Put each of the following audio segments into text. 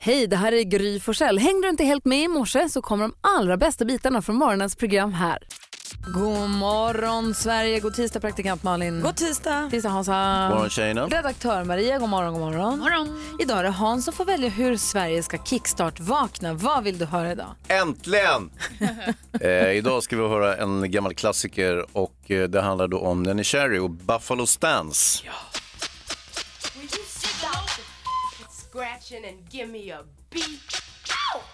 Hej, det här är Gry Forssell. Hängde du inte helt med i morse så kommer de allra bästa bitarna från morgonens program här. God morgon Sverige, god tisdag praktikant Malin. God tisdag. Tisdag Hansa. Morgon, tjejerna. Redaktör Maria, god morgon, god morgon. Idag är det Hans som får välja hur Sverige ska kickstart-vakna. Vad vill du höra idag? Äntligen! eh, idag ska vi höra en gammal klassiker och eh, det handlar då om Nenny Cherry och Buffalo Stance. Will you sit down and scratching and give me a beat? Ouch!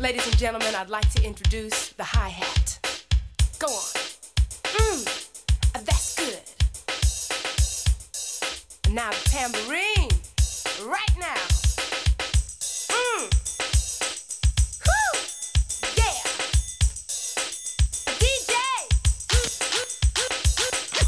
Ladies and gentlemen, I'd like to introduce the hi-hat. Go on. Mmm, that's good. And now the tambourine, right now. Mmm. Whew. Yeah. DJ,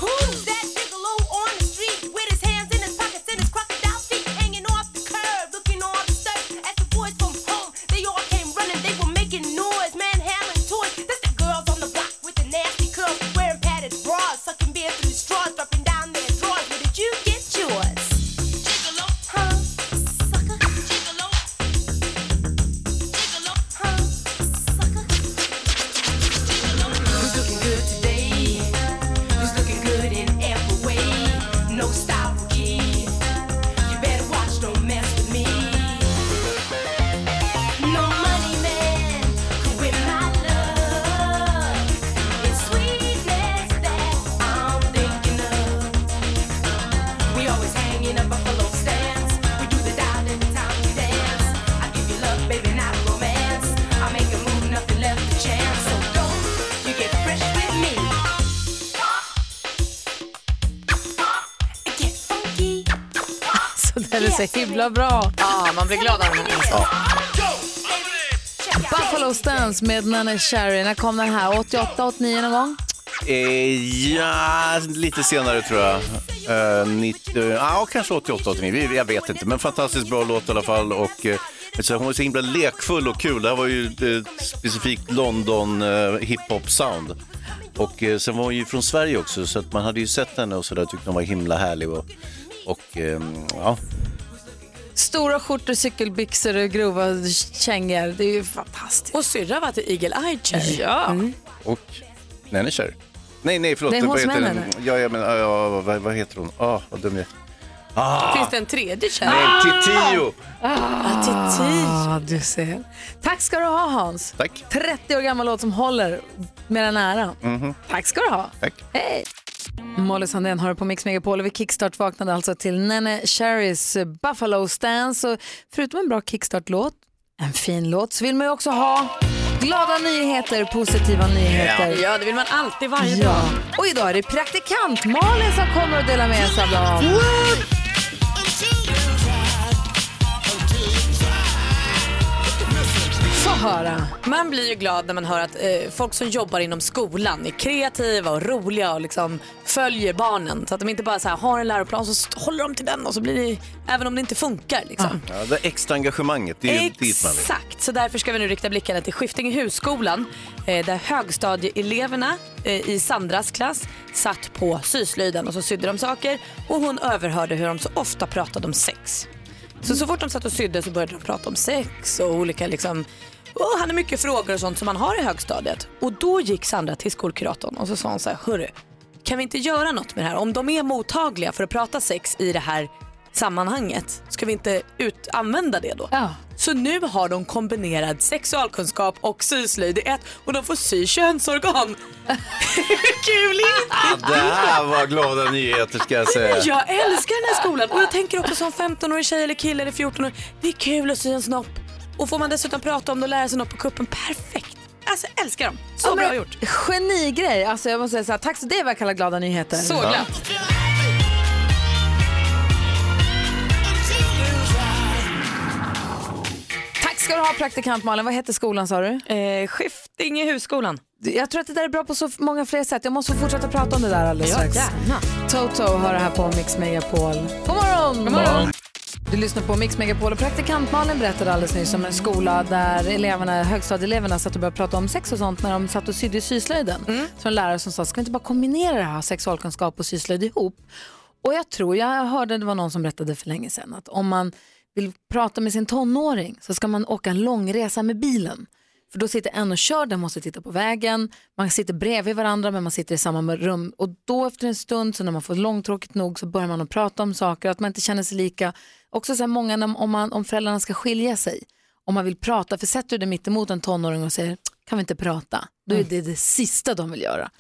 Who's that gigolo on the street with his hands in his pockets and his crocodile feet hanging off the curb, looking all disturbed? As the boys from home, they all came running, they were making noise, manhandling toys. That's the girls on the block with the nasty curls, wearing padded bras, sucking beer through straws, dropping down their drawers. Where did you get yours? Gigolo, huh? Sucker, gigolo, gigolo, huh? Sucker, Who's looking good today? Who's looking good in every way? No style rookie. You better watch, don't mess with me. No money man could win my love. It's sweetness that I'm thinking of. We always hanging up buffalo stands. We do the dial every time we dance. I give you love, baby, not romance. I make a move, nothing left to chance. So don't you get fresh with me. Get funky. Så det är så himla bra. Ja, man blir glad av den här. Buffalo Stance med Nanne Cherry. När kom den här? 88, 89 någon gång? Eh, ja, lite senare tror jag. Eh, 90, ja, kanske 88, 89. Vi- Jag vet inte, men fantastiskt bra låt i alla fall. Och, eh, så hon var så himla lekfull och kul. Det här var ju eh, specifikt London eh, hiphop-sound. Och eh, sen var hon ju från Sverige också, så att man hade ju sett henne och så där tyckte hon var himla härlig. Och, och ehm, ja, Stora skjortor, cykelbyxor och grova kängor. Det är ju fantastiskt. Och syrra var till Eagle Eye Cherry. Ja. och Nanny Cherry. Nej, nej, förlåt. Nej, hon vad som heter är den? Ja, jag menar, ja, vad, vad heter hon? Ah, vad dum jag är. Ah, Finns det en tredje Cherry? Nej, Ah! Titio! Till tio. Ja, Ah, du ser. Tack ska du ha, Hans. Tack. 30 år gammal låt som håller med den äran. Tack ska du ha. Mhm. Tack. Hej! Molly Sandén har det på Mix Megapol och vi kickstart vaknade alltså till Nene Cherrys Buffalo Stance. Och förutom en bra kickstart-låt, en fin låt, så vill man ju också ha glada nyheter, positiva nyheter. Ja, det vill man alltid varje dag. Ja. Och idag är det praktikant Malin som kommer att dela med sig av dem. Få höra. Man blir ju glad när man hör att eh, folk som jobbar inom skolan är kreativa och roliga och liksom följer barnen. Så att de inte bara så här, har en läroplan så st- håller de till den och så blir det, även om det inte funkar liksom. Ja, det extra engagemanget, det är ju dit man vill. Exakt, så därför ska vi nu rikta blickarna till Skiftingehusskolan eh, där högstadieeleverna eh, i Sandras klass satt på syslöjden och så sydde de saker och hon överhörde hur de så ofta pratade om sex. Så, så fort de satt och sydde så började de prata om sex och olika liksom och hade mycket frågor och sånt som man har i högstadiet. Och då gick Sandra till skolkuratorn och så sa hon så här, hörru, kan vi inte göra något med det här? Om de är mottagliga för att prata sex i det här sammanhanget, ska vi inte ut- använda det då? Ja. Så nu har de kombinerad sexualkunskap och syslöjd i ett och de får sy könsorgan. Kul inte? Det här var glada nyheter ska jag säga. Jag älskar den här skolan och jag tänker också som 15-årig tjej eller kille eller 14 år. Det är kul att sy en snopp. Och får man dessutom prata om det och lära sig något på kuppen, perfekt. Alltså jag älskar dem. Så Ja, men bra gjort. Genigrej. Alltså jag måste säga så här, tack så det är vad jag kallar glada nyheter. Så glad. Tack ska du ha praktikant Malin. Vad heter skolan sa du? Eh, Skifting i husskolan. Jag tror att det där är bra på så många fler sätt. Jag måste få fortsätta prata om det där alldeles strax. Toto har det här på Mix Megapol. God morgon! God morgon! Du lyssnar på Mix Megapol och praktikant Malin berättade alldeles nyss om en skola där eleverna, högstadieeleverna satt och började prata om sex och sånt när de satt och sydde i syslöjden. Så en lärare som sa, ska vi inte bara kombinera det här sexualkunskap och syslöjd ihop? Och jag tror, jag hörde det var någon som berättade för länge sedan att om man vill prata med sin tonåring så ska man åka en långresa med bilen. För då sitter en och kör, den måste titta på vägen, man sitter bredvid varandra men man sitter i samma rum och då efter en stund så när man får långtråkigt nog så börjar man att prata om saker, att man inte känner sig lika. Också så här många när- om, man, om föräldrarna ska skilja sig, om man vill prata, för sätter du dig mitt emot en tonåring och säger kan vi inte prata, då är det det sista de vill göra.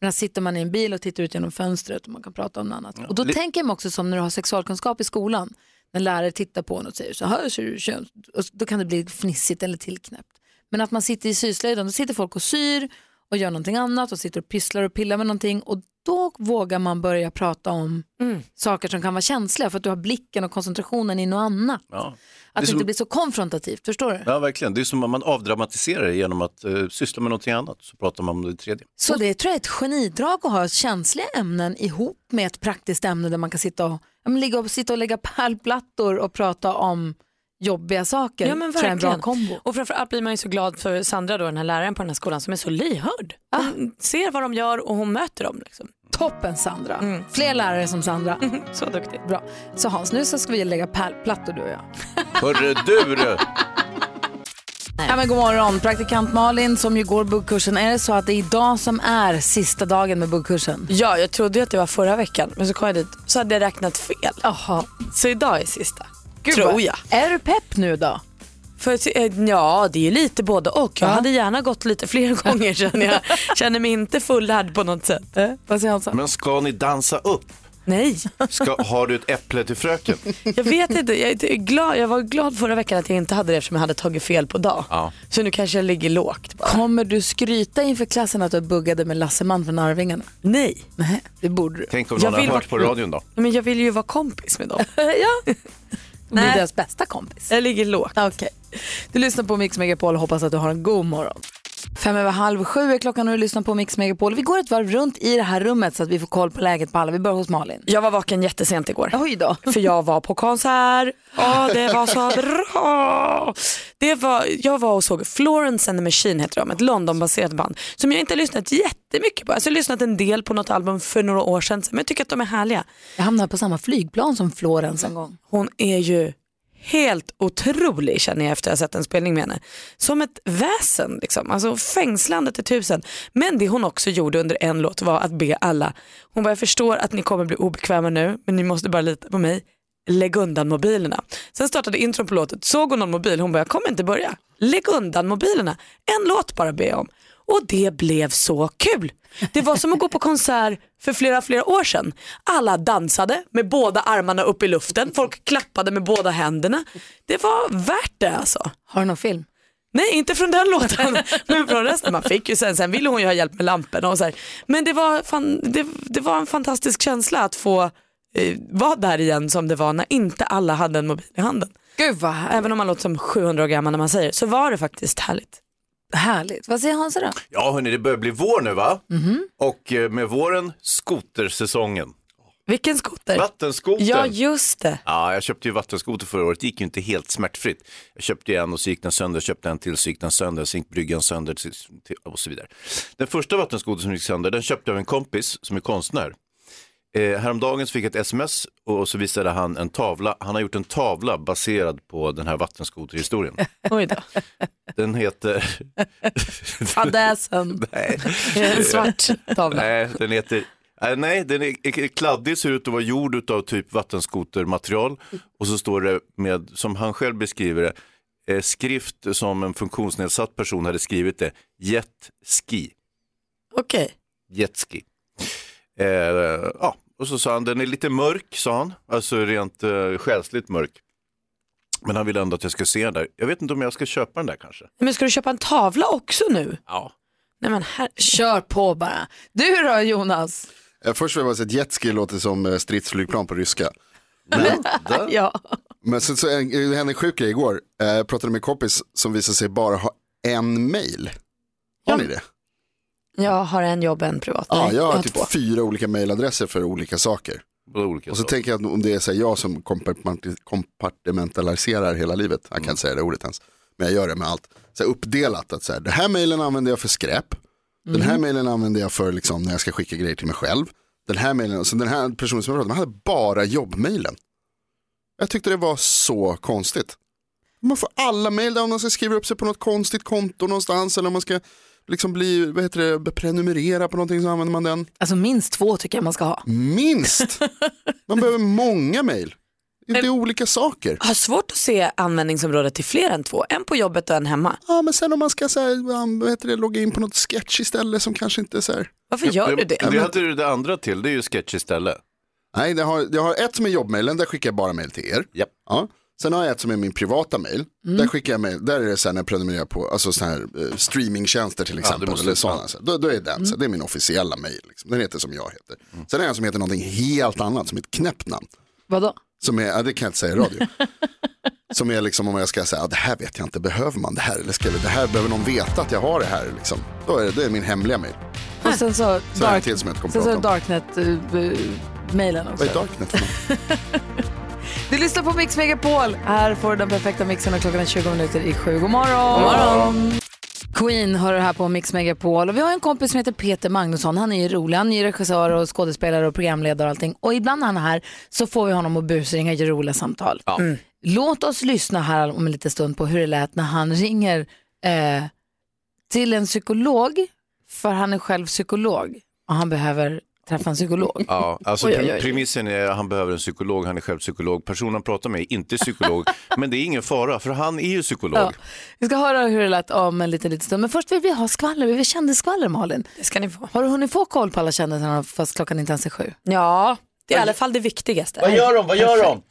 Men sitter man i en bil och tittar ut genom fönstret och man kan prata om något annat. Och då Li- tänker man också som när du har sexualkunskap i skolan, när lärare tittar på en och säger så här ser du köns... och då kan det bli fnissigt eller tillknäppt. Men att man sitter i syslöjden, då sitter folk och syr och gör någonting annat och sitter och pysslar och pillar med någonting och då vågar man börja prata om saker som kan vara känsliga för att du har blicken och koncentrationen i något annat. Ja. Att det som- inte blir så konfrontativt, förstår du? Ja, verkligen. Det är som om man avdramatiserar det genom att eh, syssla med någonting annat. Så pratar man om det tredje. Så det tror jag är ett genidrag att ha känsliga ämnen ihop med ett praktiskt ämne där man kan sitta och, ja, men ligga och, sitta och lägga pärlplattor och prata om jobbiga saker. Ja, men tror jag är en bra verkligen. kombo. Och framförallt blir man ju så glad för Sandra, då, den här läraren på den här skolan, som är så lyhörd. Hon ser vad de gör och hon möter dem. Liksom. Toppen Sandra. Fler lärare som Sandra. Så duktig. Bra. Så Hans, nu så ska vi lägga pärlplattor du och jag. Hörru du! du. Ja, men god morgon, praktikant Malin som ju går buggkursen. Är det så att det är idag som är sista dagen med buggkursen? Ja, jag trodde ju att det var förra veckan, men så kom jag dit så hade jag räknat fel. Jaha. Så idag är sista. tror jag. Är du pepp nu då? För, att- eh, ja, det är ju lite både och. Jag hade gärna gått lite fler gånger känner jag. Känner mig inte fulladd på något sätt. Vad säger Hansa? Men ska ni dansa upp? Nej, Ska, har du ett äpple till fröken? jag vet inte. Jag, är glad, jag var glad förra veckan att jag inte hade det eftersom jag hade tagit fel på dag. Ja. Så nu kanske jag ligger lågt bara. Kommer du skryta inför klassen att du buggade med Lasseman från Arvingarna? Nej, Nej, det borde du. Tänk om Jag någon har vill hört vara- på radion då. men jag vill ju vara kompis med dem. ja. Du är Nej. deras bästa kompis. Jag ligger lågt. Okej. Du lyssnar på Mix Megapol och hoppas att du har en god morgon. Fem över halv sju är klockan och du lyssnar på Mix Megapol. Vi går ett varv runt i det här rummet så att vi får koll på läget på alla. Vi börjar hos Malin. Jag var vaken jättesent igår. Oj då. För jag var på konsert. Ja, det var så bra. Det var, jag var och såg Florence and the Machine heter de, ett Londonbaserat band som jag inte har lyssnat jättemycket på. Alltså, jag har lyssnat en del på något album för några år sedan men jag tycker att de är härliga. Jag hamnade på samma flygplan som Florens en gång. Hon är ju helt otrolig känner jag efter att jag sett en spelning med henne. Som ett väsen liksom, alltså fängslande till tusen. Men det hon också gjorde under en låt var att be alla, hon bara jag förstår att ni kommer bli obekväma nu men ni måste bara lita på mig. Lägg undan mobilerna. Sen startade intron på låten, såg hon någon mobil, hon bara jag kommer inte börja. Lägg undan mobilerna. En låt bara be om. Och det blev så kul. Det var som att gå på konsert för flera, flera år sedan. Alla dansade med båda armarna upp i luften, folk klappade med båda händerna. Det var värt det alltså. Har du någon film? Nej, inte från den låten, men från resten. Man fick ju sen, sen ville hon ju ha hjälp med lamporna och så här. Men det var, fan, det, det var en fantastisk känsla att få eh, vara där igen som det var när inte alla hade en mobil i handen. Gud vad här- Även om man låter som 700 år gammal när man säger det, så var det faktiskt härligt. härligt. Vad säger Hansa då? Ja, hörni, det börjar bli vår nu va? Och eh, med våren, skotersäsongen. Vilken skoter. Vattenskotern. Eh, Ja, just det. Ja, jag köpte ju vattenskoter förra året, det gick ju inte helt smärtfritt. Jag köpte ju en och så gick den sönder, köpte en till så gick den sönder, så gick bryggan sönder till- till- och så vidare. Den första vattenskotern som gick sönder, den köpte jag av en kompis som är konstnär. Eh, häromdagen så fick jag ett sms och så visade han en tavla. Han har gjort en tavla baserad på den här vattenskoterhistorien. Oj då. Den heter... Fadäsen. Nej. En svart tavla. Nej, den heter... Eh, Nej, den är är kladdig, ser ut att vara gjord av typ vattenskotermaterial. Och så står det med, som han själv beskriver det, eh, skrift som en funktionsnedsatt person hade skrivit det, jetski. Okej. Jetski. Eh, ja, och så sa han, den är lite mörk, sa han, alltså rent eh, själsligt mörk. Men han ville ändå att jag ska se den där. Jag vet inte om jag ska köpa den där kanske. Men ska du köpa en tavla också nu? Ja. Nej men här... Kör på bara. Du då Jonas? Eh, Först vill jag bara säga att jetski låter som eh, stridsflygplan på ryska. Men, där, Ja. Men sen så en- det hände en sjuk grej igår. Eh, Jag pratade med en kompis som visade sig bara ha en mail. Har ni det? Jag har en jobb, en privat. Ja, Nej, jag har två. typ fyra olika mailadresser för olika saker. på olika Och så saker. tänker jag att om det är så här, jag som kompartiment- kompartimentaliserar hela livet, jag kan inte säga det ordet ens, men jag gör det med allt, så här uppdelat att så här, den här mailen använder jag för skräp, den här mailen använder jag för liksom, när jag ska skicka grejer till mig själv, den här mailen, så den här personen som jag pratade med hade bara jobbmailen. Jag tyckte det var så konstigt. Man får alla mejl där om man ska skriva upp sig på något konstigt konto någonstans eller om man ska liksom bli, vad heter det, prenumerera på någonting så använder man den. Alltså minst två tycker jag man ska ha. Minst! Man behöver många mejl. Det är olika saker. Har svårt att se användningsområdet till fler än två. En på jobbet och en hemma. Ja, men sen om man ska så här, vad heter det, logga in på något sketch istället som kanske inte är så här. Varför gör du det? Mm. Det hade du det andra till, det är ju sketch istället. Nej, jag har, jag har ett som är jobbmailen, där skickar jag bara mejl till er. Japp. Ja. Sen har jag ett som är min privata mejl. Där skickar jag mejl, där är det sen när jag prenumererar på alltså såna här eh, streamingtjänster till exempel. måste- eller såna, så. då, då är den, så det är min officiella mejl. Liksom. Den heter som jag heter. Sen är jag en som heter någonting helt annat, som är ett knäppt namn. Vadå? Som är, ja, det kan jag inte säga i radio. som är liksom om jag ska säga, ja, det här vet jag inte, behöver man det här? Eller ska jag, det här behöver någon veta att jag har det här? Liksom. Då är det, det är min hemliga mejl. Och sen så, Sen har jag dark, en till som jag inte sen kommer så prata är om. Darknet-mailen också. Vad är Darknet för något? Du lyssnar på Mix Megapol. Här får du den perfekta mixen och klockan är 20 minuter i sju. God morgon! Queen hör det här på Mix Megapol. Och vi har en kompis som heter Peter Magnusson. Han är ju rolig. Han är ju regissör och skådespelare och programledare och allting. Och ibland när han är här så får vi honom att busringa och göra roliga samtal. Mm. Låt oss lyssna här om en liten stund på hur det lät när han ringer eh, till en psykolog. För han är själv psykolog och han behöver träffa en psykolog. Ja, alltså pre- premissen är att han behöver en psykolog, han är själv psykolog. Personen han pratar med är inte psykolog, men det är ingen fara för han är ju psykolog. Ja. Vi ska höra hur det lät om en liten, liten stund. Men först vill vi ha skvaller. Vi vill kändisskvaller, Malin. Det ska ni få. Har du hunnit få koll på alla kändisarna fast klockan inte ens är sju? Ja, det är i alla fall det viktigaste. Vad gör de? Vad gör de?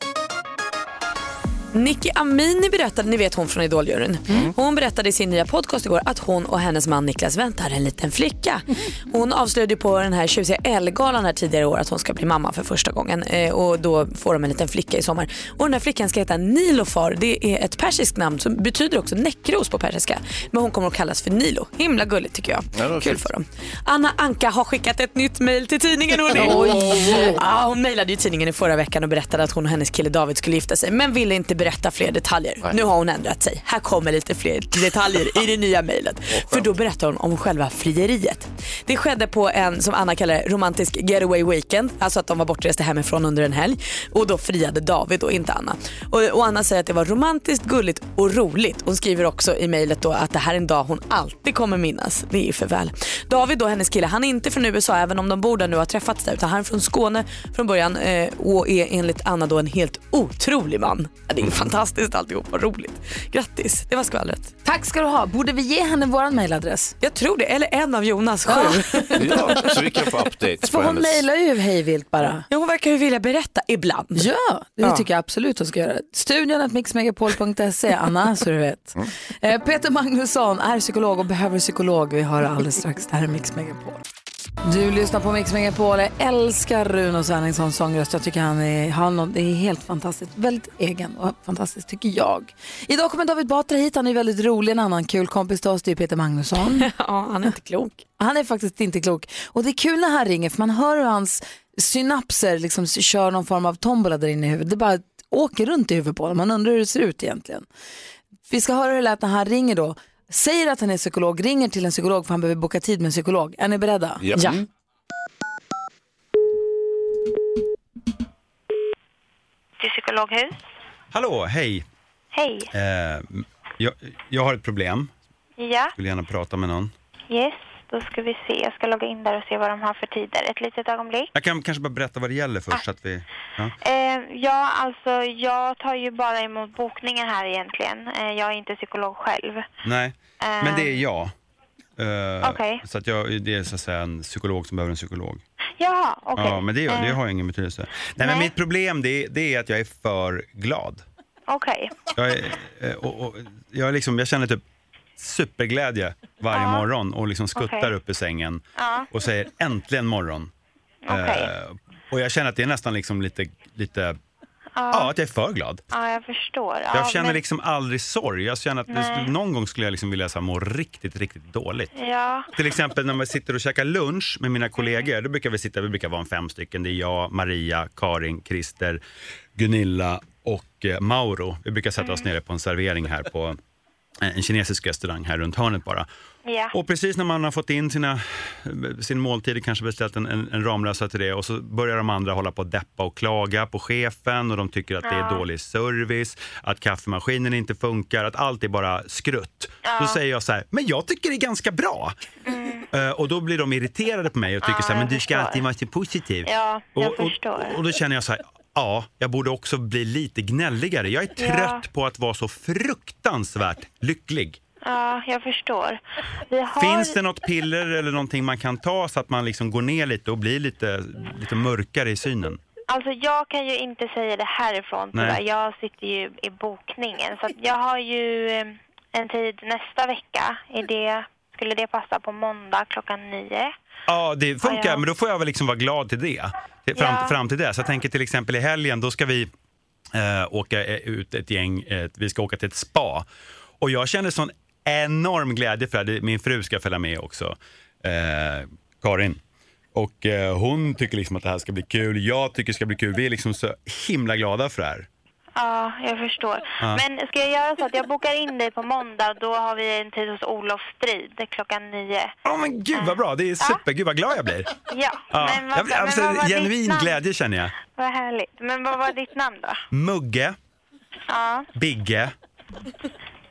Nicky Amini berättade, ni vet hon från Idoljuryn, hon berättade i sin nya podcast igår att hon och hennes man Niklas väntar en liten flicka. Hon avslöjade ju på den här tjusiga Ellegalan här tidigare i år att hon ska bli mamma för första gången eh, och då får de en liten flicka i sommar. Och den här flickan ska heta Nilofar, det är ett persiskt namn som betyder också näckros på persiska. Men hon kommer att kallas för Nilo, himla gulligt tycker jag. Ja, det var Kul fint. för dem. Anna Anka har skickat ett nytt mejl till tidningen hörni. Ja, hon mejlade ju tidningen i förra veckan och berättade att hon och hennes kille David skulle gifta sig men ville inte berätta fler detaljer. Nu har hon ändrat sig. Här kommer lite fler detaljer i det nya mejlet. För då berättar hon om själva frieriet. Det skedde på en, som Anna kallar det, romantisk getaway weekend. Alltså att de var bortresta hemifrån under en helg. Och då friade David och inte Anna. Och, och Anna säger att det var romantiskt, gulligt och roligt. Hon skriver också i mejlet då att det här är en dag hon alltid kommer minnas. Det är ju för väl. David då, hennes kille, han är inte från USA även om de bor där nu och har träffats där. Utan han är från Skåne från början eh, och är enligt Anna då en helt otrolig man. Ja, det är fantastiskt alltihop, vad roligt. Grattis, det var skvallret. Tack ska du ha. Borde vi ge henne vår mejladress? Jag tror det, eller en av Jonas sju. Ja, så vi kan få updates på För hon hennes... mejlar ju hejvilt bara. Ja, hon verkar ju vilja berätta ibland. Ja, det tycker jag absolut hon ska göra. Studion att mixmegapol.se, Anna, så du vet. Eh, Peter Magnusson är psykolog och behöver psykolog. Vi hör alldeles strax. Det här är Mix Megapol. Du lyssnar på Mix Megapol. Jag älskar Runo Svenningssons sångröst. Jag tycker han är, han, har något- det är helt fantastiskt. Väldigt egen och fantastisk tycker jag. Idag kommer David Batra hit. Han är väldigt rolig. En annan kul kompis till oss det är Peter Magnusson. Ja, han är inte klok. Han är faktiskt inte klok. Och det är kul när han ringer för man hör hur hans synapser liksom s- kör någon form av tombola där inne i huvudet. Det bara åker runt i huvudet på honom. Man undrar hur det ser ut egentligen. Vi ska höra hur det lät när han ringer då. Säger att han är psykolog, ringer till en psykolog för han behöver boka tid med en psykolog. Är ni beredda? Ja. till psykologhus. Hallå, hej. Hej. Eh, jag, jag har ett problem. Ja, Vill gärna prata med någon. yes. Då ska vi se. Jag ska logga in där och se vad de har för tider. Ett litet ögonblick. Jag kan kanske bara berätta vad det gäller Ah. först. Så att vi, ja. Eh, ja, alltså jag tar ju bara emot bokningar här egentligen. Eh, jag är inte psykolog själv. Nej, men det är jag. Eh, Okej. Så att jag, det är så att säga en psykolog som behöver en psykolog. Jaha, okej. Ja, men det, Eh, det har ingen betydelse. Nej, men nej. mitt problem det, är- det är att jag är för glad. Okej. Jag, är, eh, och, och, jag, är liksom, jag känner typ superglädje varje morgon och liksom skuttar Okej. upp i sängen Ja. och säger äntligen morgon. Okej. Eh, och jag känner att det är nästan liksom lite, lite ja. att jag är för glad. Ja, jag förstår. Ja, Jag känner men, liksom aldrig sorg. Jag känner att det Nej. skulle, någon gång skulle jag liksom vilja så här, må riktigt, riktigt dåligt. Ja, Till exempel när man sitter och käkar lunch med mina kollegor, då brukar vi sitta, vi brukar vara en fem stycken. Det är jag, Maria, Karin, Christer, Gunilla och eh, Mauro. Vi brukar sätta oss nere på en servering här på eh, en kinesisk restaurang här runt hörnet bara. Ja. Och precis när man har fått in sina, sin måltid, kanske beställt en, en, en Ramlösa till det och så börjar de andra hålla på och deppa och klaga på chefen och de tycker att det är dålig service, att kaffemaskinen inte funkar, att allt är bara skrutt. Då säger jag så här, men jag tycker det är ganska bra. Eh, Och då blir de irriterade på mig och tycker så här, men du ska Mm. förstår. alltid vara så positiv. Ja, jag och, förstår. Och, och då känner jag så här, ja, jag borde också bli lite gnälligare. Jag är Ja. trött på att vara så fruktansvärt lycklig. Ja, jag förstår. Vi har... Finns det något piller eller någonting man kan ta så att man liksom går ner lite och blir lite, lite mörkare i synen? Alltså jag kan ju inte säga det härifrån Nej. tyvärr. Jag sitter ju i bokningen. Så att jag har ju eh, en tid nästa vecka. Är det, skulle det passa på måndag klockan nio? Ja, det funkar, Ja, ja. men då får jag väl liksom vara glad till det. Till- Fram, Ja. fram till det. Så jag tänker till exempel i helgen, då ska vi eh, åka eh, ut ett gäng, eh, vi ska åka till ett spa. Och jag känner sån enorm glädje för det. Min fru ska följa med också, eh, Karin. Och eh, hon tycker liksom att det här ska bli kul, jag tycker det ska bli kul. Vi är liksom så himla glada för det här. Ja, jag förstår. Men ska jag göra så att jag bokar in dig på måndag? Då har vi en tid hos Olof Strid klockan nio. Åh men gud vad bra, det är super, gud vad glad jag blir. Ja, Ja. men vad, jag blir men alltså, vad var ditt genuin namn? glädje känner jag. Vad härligt. Men vad var ditt namn då? Mugge, Ja, Bigge,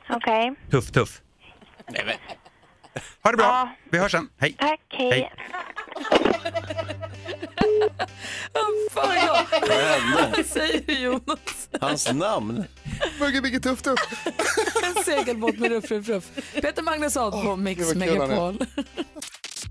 okej. Tuff Tuff. Ha det bra, Ja. vi hörs sen. Hej. Tack, hej. Hej. Fan, ja. Vad hände? Vad säger du Jonas? Hans namn? Bugge, Bigge, Tuff, Tuff. En segelbåt med ruff, ruff, ruff. Peter Magnusson på gud, Mix vad kul han är. Megapol.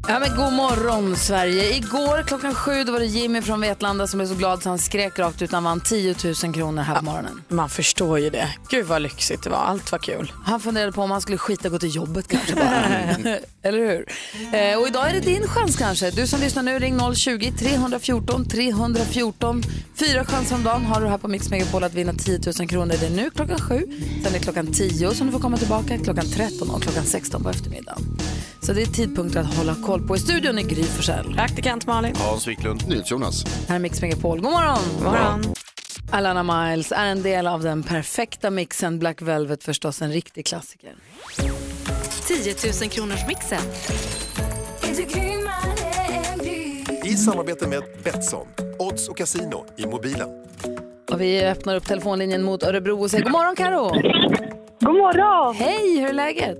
Ja, men god morgon, Sverige. Igår klockan sju då var det Jimmy från Vetlanda som blev så glad så han skrek rakt ut. Han vann 10 000 kronor här på morgonen. Man förstår ju det. Gud vad lyxigt det var. Allt var kul. Han funderade på om han skulle skita och gå till jobbet kanske bara. Eller hur? Eh, och idag är det din chans kanske. Du som lyssnar nu, ring 020-314 314. Fyra chanser om dagen har du här på Mix Megapol att vinna 10 000 kronor. Det är nu klockan sju, sen är det klockan 10 som du får komma tillbaka, klockan 13 och klockan 16 på eftermiddagen. Så det är tidpunkter att hålla koll på. I studion är Gry Forssell. Praktikant Malin. Hans Wiklund. Jonas. Här är Mix Megapol. God morgon! Morgon. Alana Miles är en del av den perfekta mixen. Black Velvet förstås, en riktig klassiker. 10 000 kronors mixen. I samarbete med Betsson, odds och kasino i mobilen. Och vi öppnar upp telefonlinjen mot Örebro och säger god morgon Karo. God morgon! Hej, hur är läget?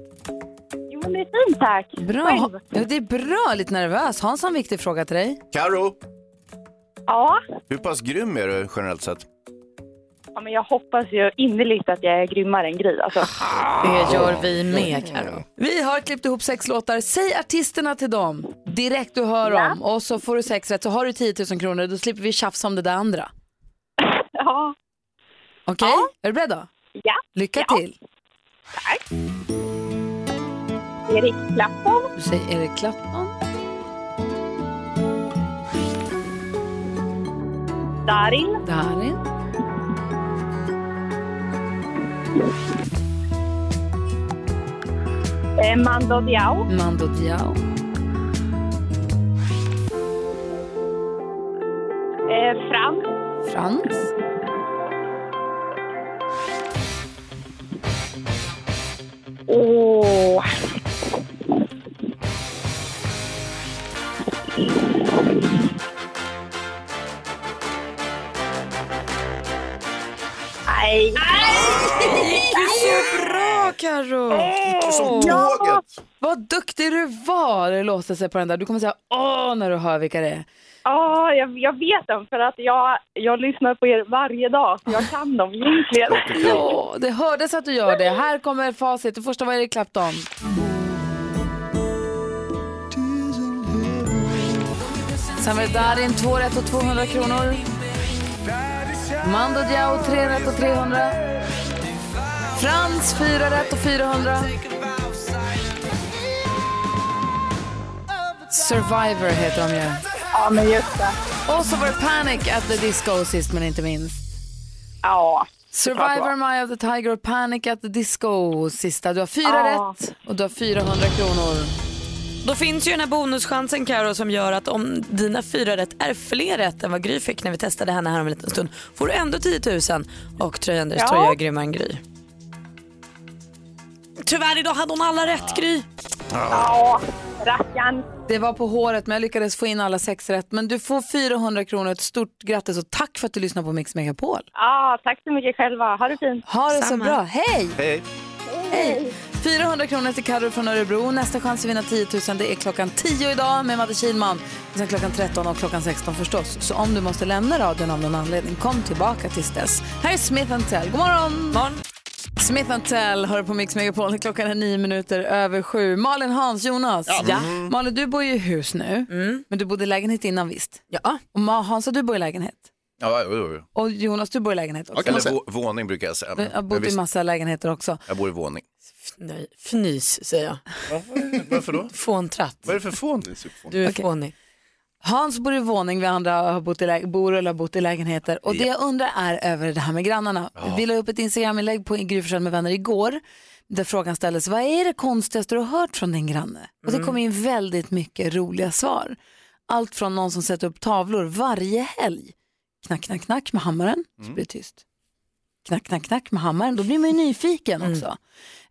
Jo, men det är fint tack. Bra. Själv? Ja, det är bra, lite nervös. Hans har en viktig fråga till dig. Karo, Ja. hur pass grym är du generellt sett? ja, men jag hoppas ju innerligt att jag är grymmare än Gry. Alltså. Det gör vi med Karo. Vi har klippt ihop sex låtar. Säg artisterna till dem direkt du hör Ja. om och så får du sex rätt så har du 10 000 kronor. Då slipper vi tjafsa om det där andra. Ja. Okej, är du beredd då? Ja, Lycka Ja. till. Erik Clapton, Du säger Eric Clapton, Darin, Darin, eh, Mando Diao, Mando Diao, eh, Frans, Frans, och... Nej. Bra Karo. Som tåget! Vad duktig du var! Det låste sig på den där. Du kommer säga åh när du hör vilka det är. Ja, jag, jag vet dem för att jag, jag lyssnar på er varje dag. Så jag kan dem egentligen. Ja, det hördes att du gör det. Här kommer facit. Det första var Eric Clapton. Sen var det Darin, 2 rätt och 200 kronor. Mando Diao, 3 rätt och 300. Frans, 4 rätt och 400. Survivor heter de ju. Ja, men just det. Och så var det Panic at the Disco sist men inte minst. Ja. Survivor, My of the Tiger och Panic at the Disco. Sista. Du har fyra Ja. rätt och du har 400 kronor. Då finns ju den här bonuschansen Karo som gör att om dina fyra rätt är fler rätt än vad Gry fick när vi testade henne här om en liten stund får du ändå 10 000 och Tröjanders Ja. tröja är grymmare än Gry. Tyvärr idag hade hon alla rätt Gry. Ja, rackarn. Det var på håret men jag lyckades få in alla sex rätt. Men du får 400 kronor. Ett stort grattis och tack för att du lyssnar på Mix Megapol. Ja, tack så mycket själva. Ha det fint. Ha det så bra. Hej! Hej. Hej! 400 kronor till Carro från Örebro. Nästa chans att vinna 10 000 det är klockan 10 idag med Madde Kihlman. Och sen klockan 13 och klockan 16 förstås. Så om du måste lämna radion av någon anledning, kom tillbaka tills dess. Här är Smith Tell. God morgon! Smith Tell hör på Mix Megapol. Klockan är nio minuter över sju. Malin, Hans, Jonas. Ja. Malin, du bor ju i hus nu, men du bodde i lägenhet innan visst? Ja. Och Ma- Hans, du bor i lägenhet. Ja, jo, jo. Och Jonas, du bor i lägenhet också. Eller vå- våning brukar jag säga. Jag har bott i visst, massa lägenheter också. jag bor i våning. Nej, fnys säger jag. Varför då? Fåntratt. Vad är det för fåning? Du är Okej. fånig. Hans bor i våning, vi andra har bott i lä- bor eller har bott i lägenheter. Och det jag undrar är över det här med grannarna. Vi la upp ett Instagram-inlägg på Gry Forssell med vänner igår. Där frågan ställdes, vad är det konstigaste du har hört från din granne? Och det kom in väldigt mycket roliga svar. Allt från någon som sätter upp tavlor varje helg. Knack, knack, knack med hammaren, så blir det tyst. Knack, knack, knack med hammaren, då blir man ju nyfiken också.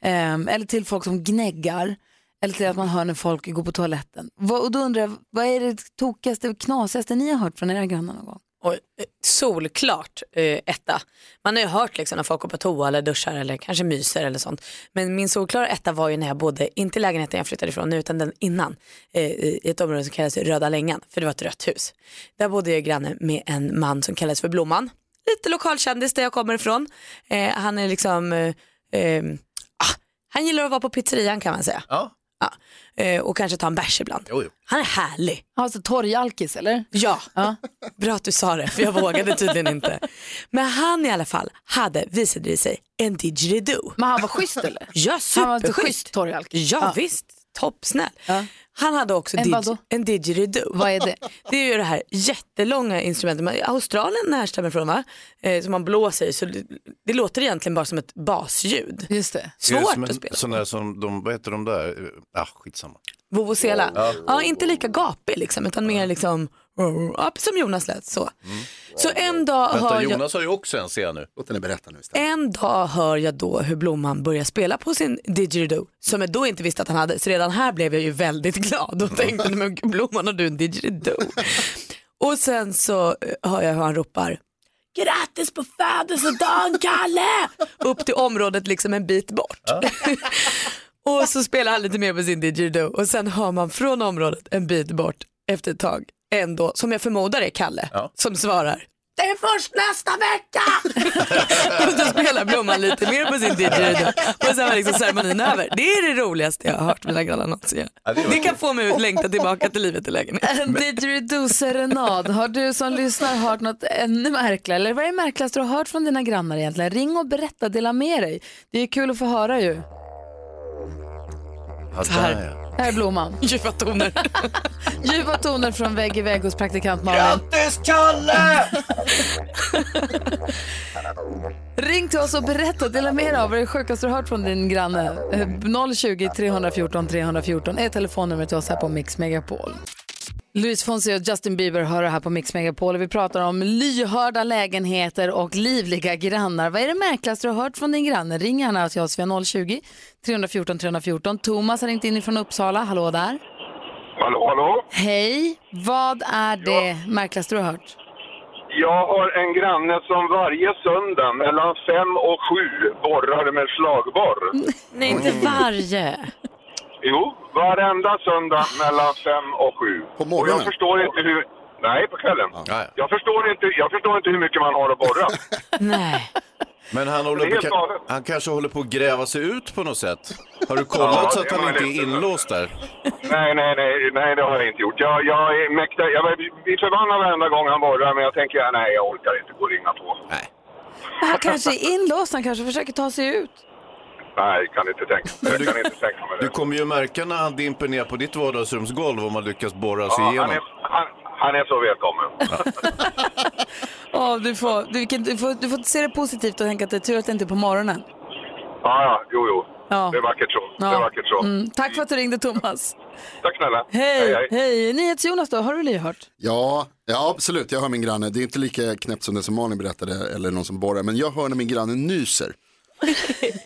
Ehm, eller till folk som gnäggar. Eller till att man hör när folk går på toaletten. Vad, och då undrar jag, vad är det tokigaste och knasigaste ni har hört från era grannar någon gång? Och, eh, solklart eh, etta. Man har ju hört liksom, när folk går på toa eller duschar eller kanske myser eller sånt. Men min solklara etta var ju när jag bodde, inte i lägenheten jag flyttade ifrån nu utan den innan, eh, i i ett område som kallas Röda Längan, för det var ett rött hus. Där bodde jag granne med en man som kallades för Blomman. Lite lokalkändis där jag kommer ifrån. Eh, han är liksom, eh, eh, ah, han gillar att vara på pizzerian kan man säga. Ja, Ja. Eh, och kanske ta en bärs ibland. jo, jo. Han är härlig. Alltså torrjalkis eller? Ja, bra att du sa det för jag vågade tydligen inte. Men han i alla fall hade, visade det sig, en didgeridoo. Men han var schysst eller? Ja, Han var inte schysst superschysst. torrjalkis. Ja, visst, toppsnäll. Ja. Han hade också En didg- vadå? en didgeridoo. Vad är det? Det är ju det här jättelånga instrumentet, man- Australien härstammar från va? Eh, som man blåser i, så det, det låter egentligen bara som ett basljud. Just det. Det är Svårt som en- att spela. Sån där som de, vad heter de där? Ah, skitsamma. Vovvozela. Ja, inte lika gapig liksom, utan mer liksom, ja, som Jonas lät så. Så en dag hör Mm. Vänta, jag... Jonas har ju också en, ser jag nu. Låt henne berätta nu istället. En dag hör jag då hur Blomman börjar spela på sin didgeridoo som jag då inte visste att han hade. Så redan här blev jag ju väldigt glad och tänkte, men gud, Blomman har du en didgeridoo? och sen så eh, hör jag hur han ropar, grattis på födelsedagen Kalle! Upp till området liksom en bit bort. och så spelar han lite mer på sin didgeridoo och sen hör man från området en bit bort efter ett tag ändå, som jag förmodar är Kalle, Ja. som svarar det är först nästa vecka! och då spelar Blomman lite mer på sin didgeridoo och sen var liksom ceremonin över. Det är det roligaste jag har hört mina grannar någonsin Ja, det göra. var Det kul. kan få mig att längta tillbaka till livet i lägenhet. En didgeridoo-serenad. Har du som lyssnar hört något ännu märkligare? Eller vad är det märkligaste du har hört från dina grannar egentligen? Ring och berätta, dela med dig. Det är kul att få höra ju. Ja, där, ja. Här är blomman. Ljuva toner. Ljuva toner från vägg i vägg hos praktikant Malin. Grattis Kalle! Ring till oss och berätta, dela med dig av vad det sjukaste du har hört från din granne. Eh, 020 314 314 är telefonnumret till oss här på Mix Megapol. Luis Fonsi och Justin Bieber hör det här på Mix Megapol och vi pratar om lyhörda lägenheter och livliga grannar. Vad är det märkligaste du har hört från din granne? Ring gärna till oss via 020 314 314. Thomas har ringt in från Uppsala, hallå där. Hallå, hallå. Hej, vad är det märkligaste du har hört? Jag har en granne som varje söndag mellan fem och sju borrar med slagborr. Nej, inte varje. Jo, varenda söndag mellan fem och sju. På Och jag morgonen? förstår inte hur... Nej, på kvällen. Ja, ja. Jag förstår, inte, jag förstår inte hur mycket man har att borra. Nej. Men han, Det håller är helt på, galet. han kanske håller på att gräva sig ut på något sätt. Har du Ja, kollat så det att han var inte lite- är inlåst där? nej, nej, nej, nej, det har jag inte gjort. Jag, jag är mäktig. Jag blir förbannad varenda gång han borrar, men jag tänker, ja, nej, jag orkar inte gå och ringa på. Nej. Han kanske är inlåst, han kanske försöker ta sig ut. Nej, kan inte tänka, jag kan inte tänka mig det. Du kommer ju märka när han dimper ner på ditt vardagsrumsgolv om han lyckas borra sig ja, han, igenom. är, han, han är så välkommen. Ja, du, får, du, vilken- du, får, du får se det positivt och tänka att det är tur att det inte är på morgonen. Ja, ja, jo, jo. Ja. Det är vackert så. Ja. Det är vackert så. Mm, tack för att du ringde Thomas. Tack snälla. Hej, hej. NyhetsJonas då, har du lyhört? Ja, ja, absolut. Jag hör min granne. Det är inte lika knäppt som det som Malin berättade eller någon som borrar. Men jag hör när min granne nyser.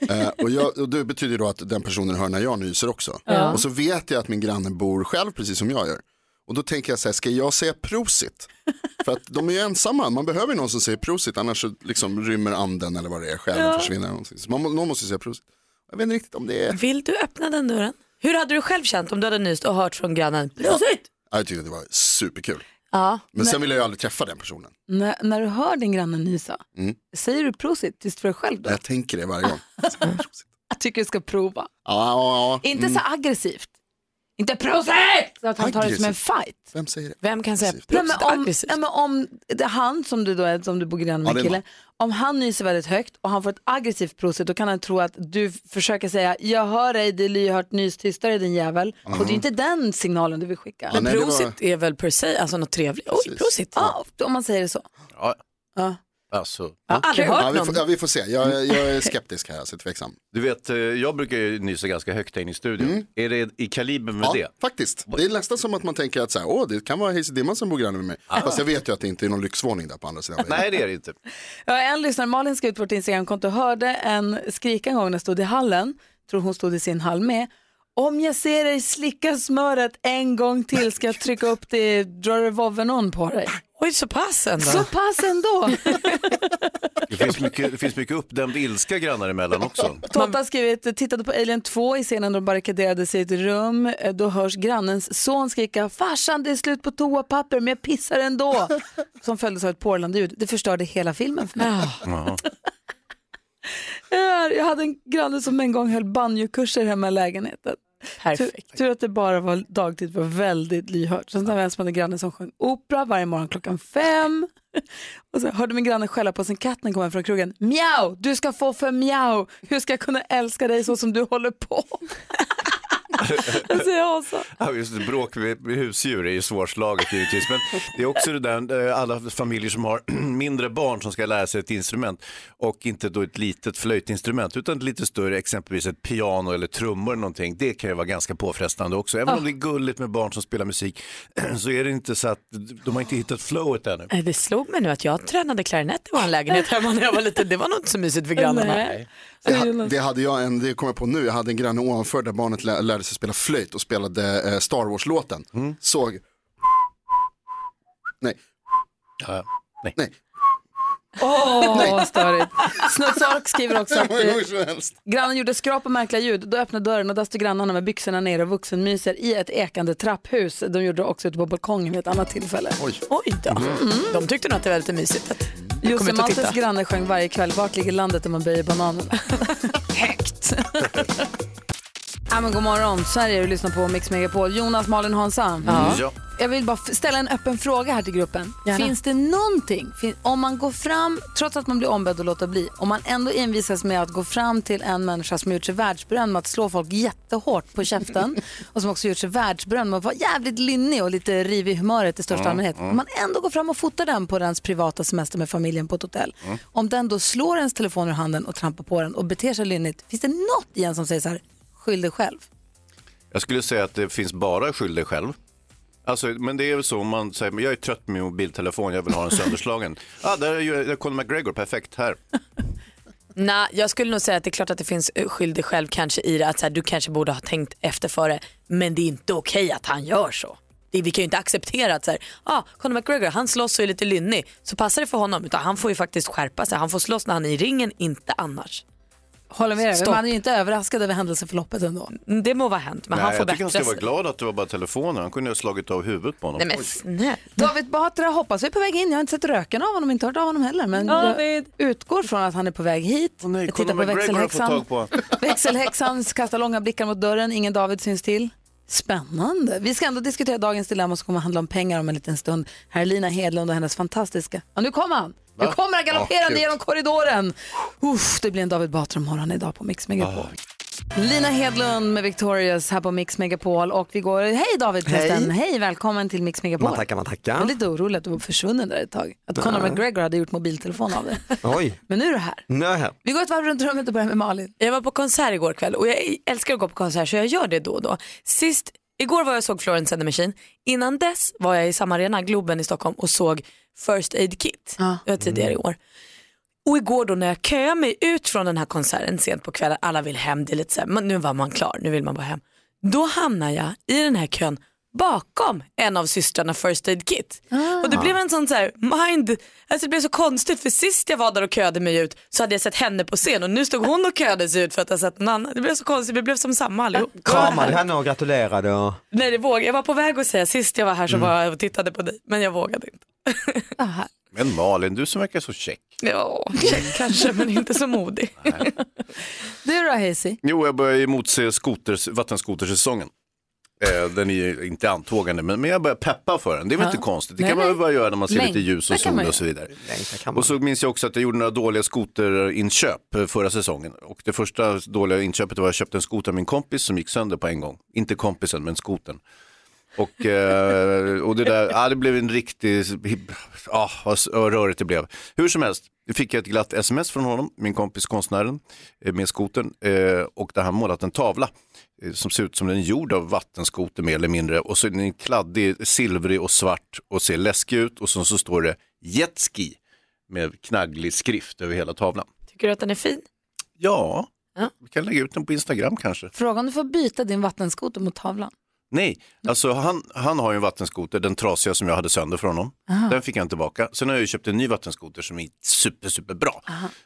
Eh, och, jag, och det betyder då att den personen hör när jag nyser också. Ja. Och så vet jag att min granne bor själv precis som jag gör. Och då tänker jag så här, ska jag säga prosit? För att de är ju ensamma, man behöver ju någon som säger prosit, annars så liksom rymmer anden eller vad det är, själen Ja. försvinner. eller någonting. Så man, må- någon måste ju säga prosit. Jag vet inte riktigt om det är... Vill du öppna den dörren? Hur hade du själv känt om du hade nyst och hört från grannen? Ja, jag tyckte att det var superkul. Ja. Men sen vill jag ju aldrig träffa den personen. När, när du hör din granne nysa, Mm. säger du prosit tills för dig själv då? Jag tänker det varje gång. Jag tycker du ska prova. Ja, ja, ja. Inte så Mm. aggressivt. Inte prosit! Så att han tar det som en Aggressivt. fight. Vem säger det? Vem kan säga Nej, men om, nej, men om det är han som du då är, som du bor granne Ja, med det är killen, om han nyser väldigt högt och han får ett aggressivt prosit då kan han tro att du f- försöker säga jag hör dig, det är lyhört, nys tystare din jävel. Mhm. Och det är inte den signalen du vill skicka. Men prosit är väl per se alltså något trevligt? Oj, prosit. Ja, om man säger det så. Ja. Ja. Alltså. Jag har aldrig hört ja, vi får, någon. ja, vi får se. Jag, jag är skeptisk här, alltså tveksam. Du vet, eh, jag brukar ju nysa ganska högt här inne i studion. Är det i kaliber med Mm. Ja, det? faktiskt. Det är nästan som att man tänker att så här, Åh, det kan vara Hayes Dimman som bor granne med mig. Fast jag vet ju att det inte är någon lyxvåning där på andra sidan. Nej, det är det inte. Ja, en lyssnare, Malin, skrev ut på vårt Instagramkonto och hörde en skrika en gång när jag stod i hallen, tror hon stod i sin hall med. Om jag ser dig slicka smöret en gång till ska jag trycka upp det, dra revolvern on på dig. Oj, så pass ändå. Så pass ändå. Det finns mycket, det finns mycket uppdämd ilska grannar emellan också. Totta har skrivit, tittade på Alien 2 i scenen då de barrikaderade sig i ett rum. Eh, Då hörs grannens son skrika, farsan det är slut på toapapper men jag pissar ändå. Som följdes av ett porrlandljud. Det förstörde hela filmen för mig. Här, Jag hade en granne som en gång höll banjokurser hemma i lägenheten. Perfekt. Tur, tur att det bara var dagtid, var väldigt lyhört. Sen hade jag en som hade granne som sjöng opera varje morgon klockan fem. Och så hörde min granne skälla på sin katt när han kom hem från krogen. Mjau, du ska få för mjau. Hur ska jag kunna älska dig så som du håller på? Alltså, jag så. Ja, just det, bråk med med husdjur är ju svårslaget givetvis. Men det är också det där eh, alla familjer som har mindre barn som ska lära sig ett instrument och inte då ett litet flöjtinstrument utan ett lite större, exempelvis ett piano eller trummor eller någonting. Det kan ju vara ganska påfrestande också. Även om Ah. det är gulligt med barn som spelar musik så är det inte så att de har inte hittat flowet ännu. Nej, Det slog mig nu att jag tränade klarinett i vår lägenhet hemma när jag var liten. Det var nog inte så mysigt för grannarna. Nej. Det, ha- det hade jag en, det kom jag på nu, jag hade en granne ovanför där barnet lä- lärde sig spela flöjt och spelade eh, Star Wars-låten. Såg... Nej. nej. Nej. Åh, vad störigt. Snutsork skriver också att Hur eh, som helst. grannen gjorde skrap och märkliga ljud. Då öppnade dörren och där stod grannarna med byxorna nere och vuxenmyser i ett ekande trapphus. De gjorde det också ute på balkongen vid ett annat tillfälle. Oj. Oj då. Mm. De tyckte nog att det var lite mysigt. att- Jag Josse kommer ut och Maltes titta. granne sjöng varje kväll Vart ligger landet om man böjer bananerna? Högt. ja, men god morgon, Sverige. Du lyssnar på Mix Megapol. Jonas, Malin, Hansa. Ja. Ja. Jag vill bara f- ställa en öppen fråga här till gruppen. Gärna. Finns det någonting, fin- om man går fram, trots att man blir ombedd att låta bli, om man ändå envisas med att gå fram till en människa som gjort sig världsberömd med att slå folk jättehårt på käften och som också gjort sig världsberömd med att vara jävligt linnig och lite rivig i humöret i största Mm, allmänhet. mm. Om man ändå går fram och fotar den på dens privata semester med familjen på ett hotell. Mm. Om den då slår ens telefon ur handen och trampar på den och beter sig lynnigt, finns det något i en som säger så här, skyll dig själv? Jag skulle säga att det finns bara skyll dig själv. Alltså, men det är väl så om man säger, men jag är trött på min mobiltelefon, jag vill ha den sönderslagen. ah, där är ju där är Conor McGregor, perfekt, här. Nej, jag skulle nog säga att det är klart att det finns eh, skyld dig själv kanske i det att så här, du kanske borde ha tänkt efter före men det är inte okej att han gör så. Det, vi kan ju inte acceptera att så här, ah, Conor McGregor han slåss och är lite lynnig så passar det för honom utan han får ju faktiskt skärpa sig. Han får slåss när han är i ringen, inte annars. Håller med dig, Stopp. man är ju inte överraskad över händelseförloppet ändå. Mm, Det må vara hänt men Nej, han får jag tycker bättra han ska sig. vara glad att det var bara telefonen, han kunde ju ha slagit av huvudet på honom. Nej, men Oj. snälla. David Batra hoppas vi är på väg in. Jag har inte sett röken av honom, inte hört av honom heller. Men David. jag utgår från att han är på väg hit. nej, jag tittar på Conor McGregor har fått växelhäxan. tag på. växelhäxan kastar långa blickar mot dörren. Ingen David syns till. Spännande. Vi ska ändå diskutera dagens dilemma som kommer handla om pengar om en liten stund. Här är Lina Hedlund och hennes fantastiska... Ja, nu kommer han! Nu Va? kommer han Ja, galopperande kul. genom korridoren. Uff, det blir en David Batra-morgon idag på Mix Megapol. Ah, Lina Hedlund med Victorious här på Mix Megapol och vi går, hej David Hej. förresten, hej. välkommen till Mix Megapol. Man tackar, man tackar. Jag var lite orolig att du var försvunnen där ett tag, att Conor Nej. McGregor hade gjort mobiltelefon av dig. Oj, Men nu är du här. nu är jag här. Vi går ett varv runt rummet och börjar med Malin. Jag var på konsert igår kväll och jag älskar att gå på konsert så jag gör det då och då. Sist, igår var jag och såg Florence and the Machine. Innan dess var jag i samma arena, Globen i Stockholm och såg First Aid Kit. Det var tidigare i år. Och igår då när jag köade mig ut från den här konserten sent på kvällen, alla vill hem, det är lite så här, men nu var man klar, nu vill man bara hem. Då hamnar jag i den här kön bakom en av systrarna First Aid Kit. Och det blev en sån så här mind, alltså det blev så konstigt för sist jag var där och köade mig ut så hade jag sett henne på scen och nu stod hon och köade sig ut för att jag sett någon annan. Det blev så konstigt, vi blev som samma allihop. Kramade henne och gratulerade och... Nej det vågade jag, var på väg att säga sist jag var här så var jag och tittade på dig men jag vågade inte. Men Malin, du som verkar så käck. Ja, check kanske men inte så modig. Du då Hazy? Jo, jag börjar emotse skoters, vattenskotersäsongen. Eh, Den är ju inte antågande, men men jag börjar peppa för den. Det är väl Ja. inte konstigt. Det Nej, kan man väl nej. bara göra när man ser Nej, lite ljus det och kan man sol göra. och så vidare. Och så minns jag också att jag gjorde några dåliga skoterinköp eh, förra säsongen. Och det första dåliga inköpet var att jag köpte en skoter av min kompis som gick sönder på en gång. Inte kompisen, men skotern. Och, eh, och det där, ah, det blev en riktig, ah, vad s- vad rörigt det blev. Hur som helst, nu fick jag ett glatt sms från honom, min kompis konstnären, eh, med skoten eh, och där han målat en tavla eh, som ser ut som den är gjord av vattenskoter mer eller mindre och så är den kladdig, silvrig och svart och ser läskig ut och sen så står det jetski med knagglig skrift över hela tavlan. Tycker du att den är fin? Ja, vi kan lägga ut den på Instagram kanske. Fråga om du får byta din vattenskoter mot tavlan. Nej, alltså han, han har ju en vattenskoter, den trasiga som jag hade sönder från honom. Aha. Den fick han tillbaka. Sen har jag ju köpt en ny vattenskoter som är super, super bra.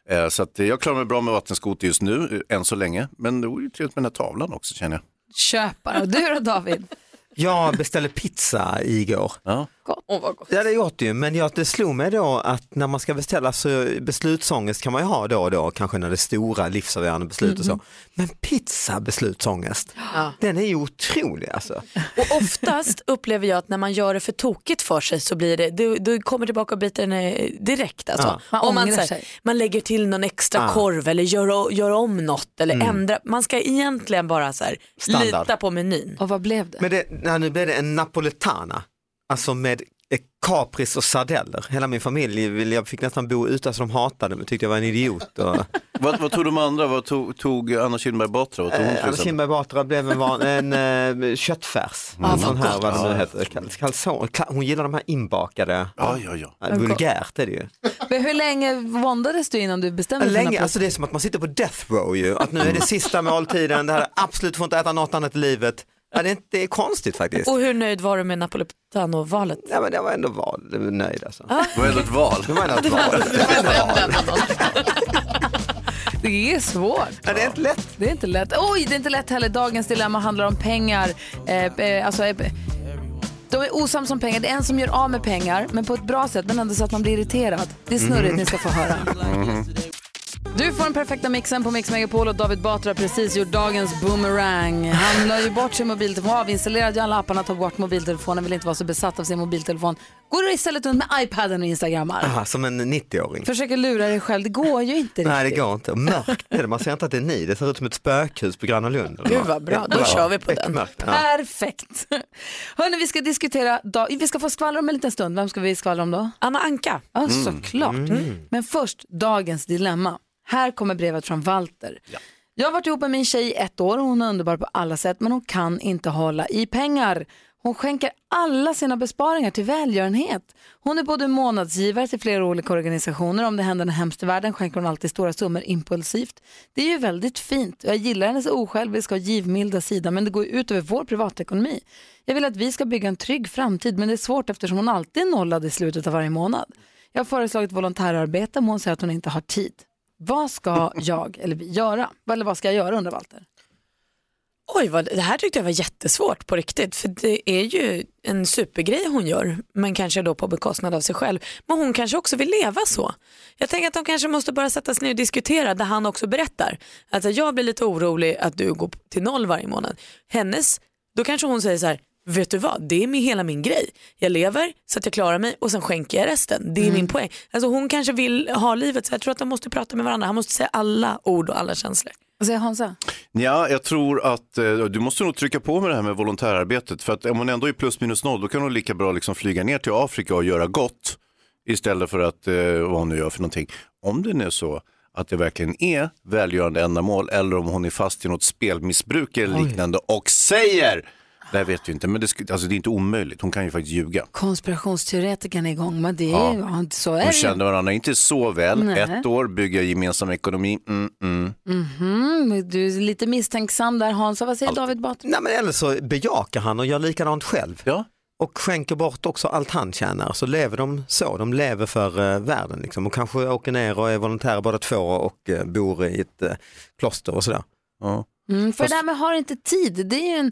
Eh, så att eh, jag klarar mig bra med vattenskoter just nu, eh, än så länge. Men det vore ju trevligt med den här tavlan också känner jag. Köpare. Och du då David? Jag beställde pizza igår. Ja. Åh, vad gott. Ja det är gott ju, men jag, det slog mig då att när man ska beställa så beslutsångest kan man ju ha då och då, kanske när det är stora livsavgörande beslut och så. Men pizza beslutsångest, den är ju otrolig alltså. Och oftast upplever jag att när man gör det för tokigt för sig så blir det, du, du kommer tillbaka och biter den eh, direkt. Alltså. Ja. Man Om ångrar så här, sig. man lägger till någon extra Ja. korv eller gör, gör om något eller Mm. ändra. Man ska egentligen bara så här, Standard. lita på menyn. Och vad blev det? Men det, nej, nu blev det en napoletana, alltså med eh, kapris och sardeller. Hela min familj, vill- jag fick nästan bo ute så de hatade mig, tyckte jag var en idiot. Och, Vad, vad tog de andra? Vad tog, tog Anna Kinberg Batra? Vad tog hon eh, till Anna exempel? Kinberg Batra blev en, van, en eh, köttfärs, Mm. en sån här, gott. vad det nu Ja. heter, kal- kalsong. Kla- Hon gillar de här inbakade, Ja, ja, ja. Eh, vulgärt är det ju. Men hur länge våndades du innan du bestämde dig för den Länge, här alltså det är som att man sitter på death row ju, att nu är det sista måltiden, det här är absolut får inte äta något annat i livet. Ja, det, är, inte- det är konstigt faktiskt. Och hur nöjd var du med Napoletano-valet? Ja, men jag var ändå val, nöjd alltså. Det var ändå ett val. Det var ändå ett val. Det är svårt. det är inte lätt. Det är inte lätt. Oj, det är inte lätt heller. Dagens dilemma handlar om pengar. Eh, eh, alltså, eh, de är osams om pengar. Det är en som gör av med pengar, men på ett bra sätt, men ändå så att man blir irriterad. Det är snurrigt, Mhm. ni ska få höra. Du får den perfekta mixen på Mix Megapol och David Batra har precis gjort dagens boomerang. Han la ju bort sin mobiltelefon, avinstallerade ju alla apparna, tog bort mobiltelefonen, vill inte vara så besatt av sin mobiltelefon. Går istället runt med iPaden och instagrammar. Aha, som en 90-åring. Försöker lura dig själv, det går ju inte riktigt. Nej det går inte, Och mörkt är det, man ser inte att det är ni, det ser ut som ett spökhus på Gröna Lund. Gud, vad bra. Då Ja, kör vi på ett den. Äh. Mörkt. Ja. Perfekt. Hörni, vi ska diskutera, dag- vi ska få skvaller om en liten stund. Vem ska vi skvallra om då? Anna Anka. Ja, såklart. Men först, dagens dilemma. Här kommer brevet från Walter. Jag har varit ihop med min tjej i ett år och hon är underbar på alla sätt men hon kan inte hålla i pengar. Hon skänker alla sina besparingar till välgörenhet. Hon är både månadsgivare till flera olika organisationer. Om det händer något hemskt i världen skänker hon alltid stora summor impulsivt. Det är ju väldigt fint. Jag gillar hennes osjälviska och givmilda sida men det går ju ut över vår privatekonomi. Jag vill att vi ska bygga en trygg framtid men det är svårt eftersom hon alltid är nollad i slutet av varje månad. Jag har föreslagit volontärarbete men hon säger att hon inte har tid. Vad ska jag eller vi göra? Eller vad ska jag göra undrar Walter? Oj, vad, det här tyckte jag var jättesvårt på riktigt. För det är ju en supergrej hon gör, men kanske då på bekostnad av sig själv. Men hon kanske också vill leva så. Jag tänker att de kanske måste bara sätta sig ner och diskutera där han också berättar. Alltså jag blir lite orolig att du går till noll varje månad. Hennes, då kanske hon säger så här, vet du vad, det är min, hela min grej. Jag lever så att jag klarar mig och sen skänker jag resten. Det är min poäng. Alltså hon kanske vill ha livet så jag tror att de måste prata med varandra. Han måste säga alla ord och alla känslor. Vad säger Hansa? Ja, jag tror att eh, du måste nog trycka på med det här med volontärarbetet. För att om hon ändå är plus minus noll, då kan hon lika bra liksom flyga ner till Afrika och göra gott istället för att, eh, vad hon nu gör för någonting. Om det nu är så att det verkligen är välgörande ändamål eller om hon är fast i något spelmissbruk eller liknande och säger Det här vet vi inte, men det, sk- alltså, det är inte omöjligt. Hon kan ju faktiskt ljuga. Konspirationsteoretikern är igång, men det är Ja. ju, ja. så är De det ju. kände varandra inte så väl. Nej. Ett år, bygga gemensam ekonomi. Mm, mm. Mhm, men du är lite misstänksam där Hans, vad säger David Batra? Nej, men eller så bejakar han och gör likadant själv. Och skänker bort också allt han tjänar. Så lever de så, de lever för eh, världen. Liksom. Och kanske åker ner och är volontärer båda två och eh, bor i ett eh, kloster och sådär. Mm, för det där med har inte tid, det är ju en...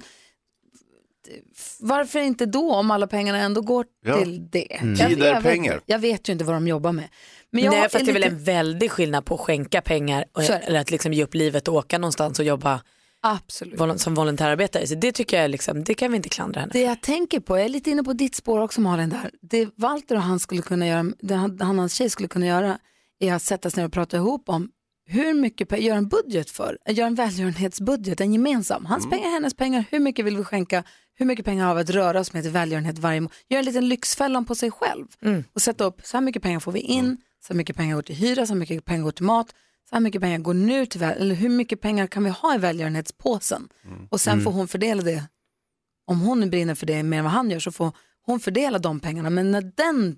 Varför inte då om alla pengarna ändå går Ja. till det? Mm. Jag- Tid är jag vet- pengar. Jag vet ju inte vad de jobbar med. Nej, för att det är väl lite- en väldig skillnad på att skänka pengar och, Så är det. eller att liksom ge upp livet och åka någonstans och jobba Absolut. vol- som volontärarbetare. Så det tycker jag liksom, det kan vi inte klandra henne Det jag tänker på, jag är lite inne på ditt spår också Malin där. Det Walter och han skulle kunna göra, det han han och hans tjej skulle kunna göra är att sätta sig ner och prata ihop om hur mycket pengar, gör en budget för, gör en välgörenhetsbudget, en gemensam. Mm. Hans pengar, hennes pengar, hur mycket vill vi skänka, hur mycket pengar har vi att röra oss med till välgörenhet varje månad. Gör en liten lyxfällan på sig själv Mm. och sätta upp, så här mycket pengar får vi in, så här mycket pengar går till hyra, så här mycket pengar går till mat, så här mycket pengar går nu till, väl- eller hur mycket pengar kan vi ha i välgörenhetspåsen? Och sen Mm. får hon fördela det om hon nu brinner för det mer än vad han gör så får hon fördela de pengarna. Men när den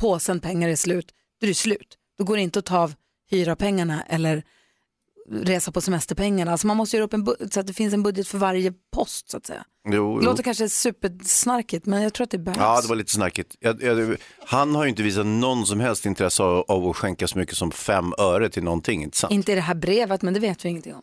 påsen pengar är slut, då är det slut. Då går det inte att ta av hyrapengarna eller resa på semesterpengarna. Alltså man måste göra upp en bu- så att det finns en budget för varje post så att säga. Jo, Det jo. låter kanske supersnarkigt men jag tror att det behövs. Ja, det var lite snackigt. Jag, jag, han har ju inte visat någon som helst intresse av, av att skänka så mycket som fem öre till någonting, inte sant? Inte i det här brevet men det vet vi ingenting om.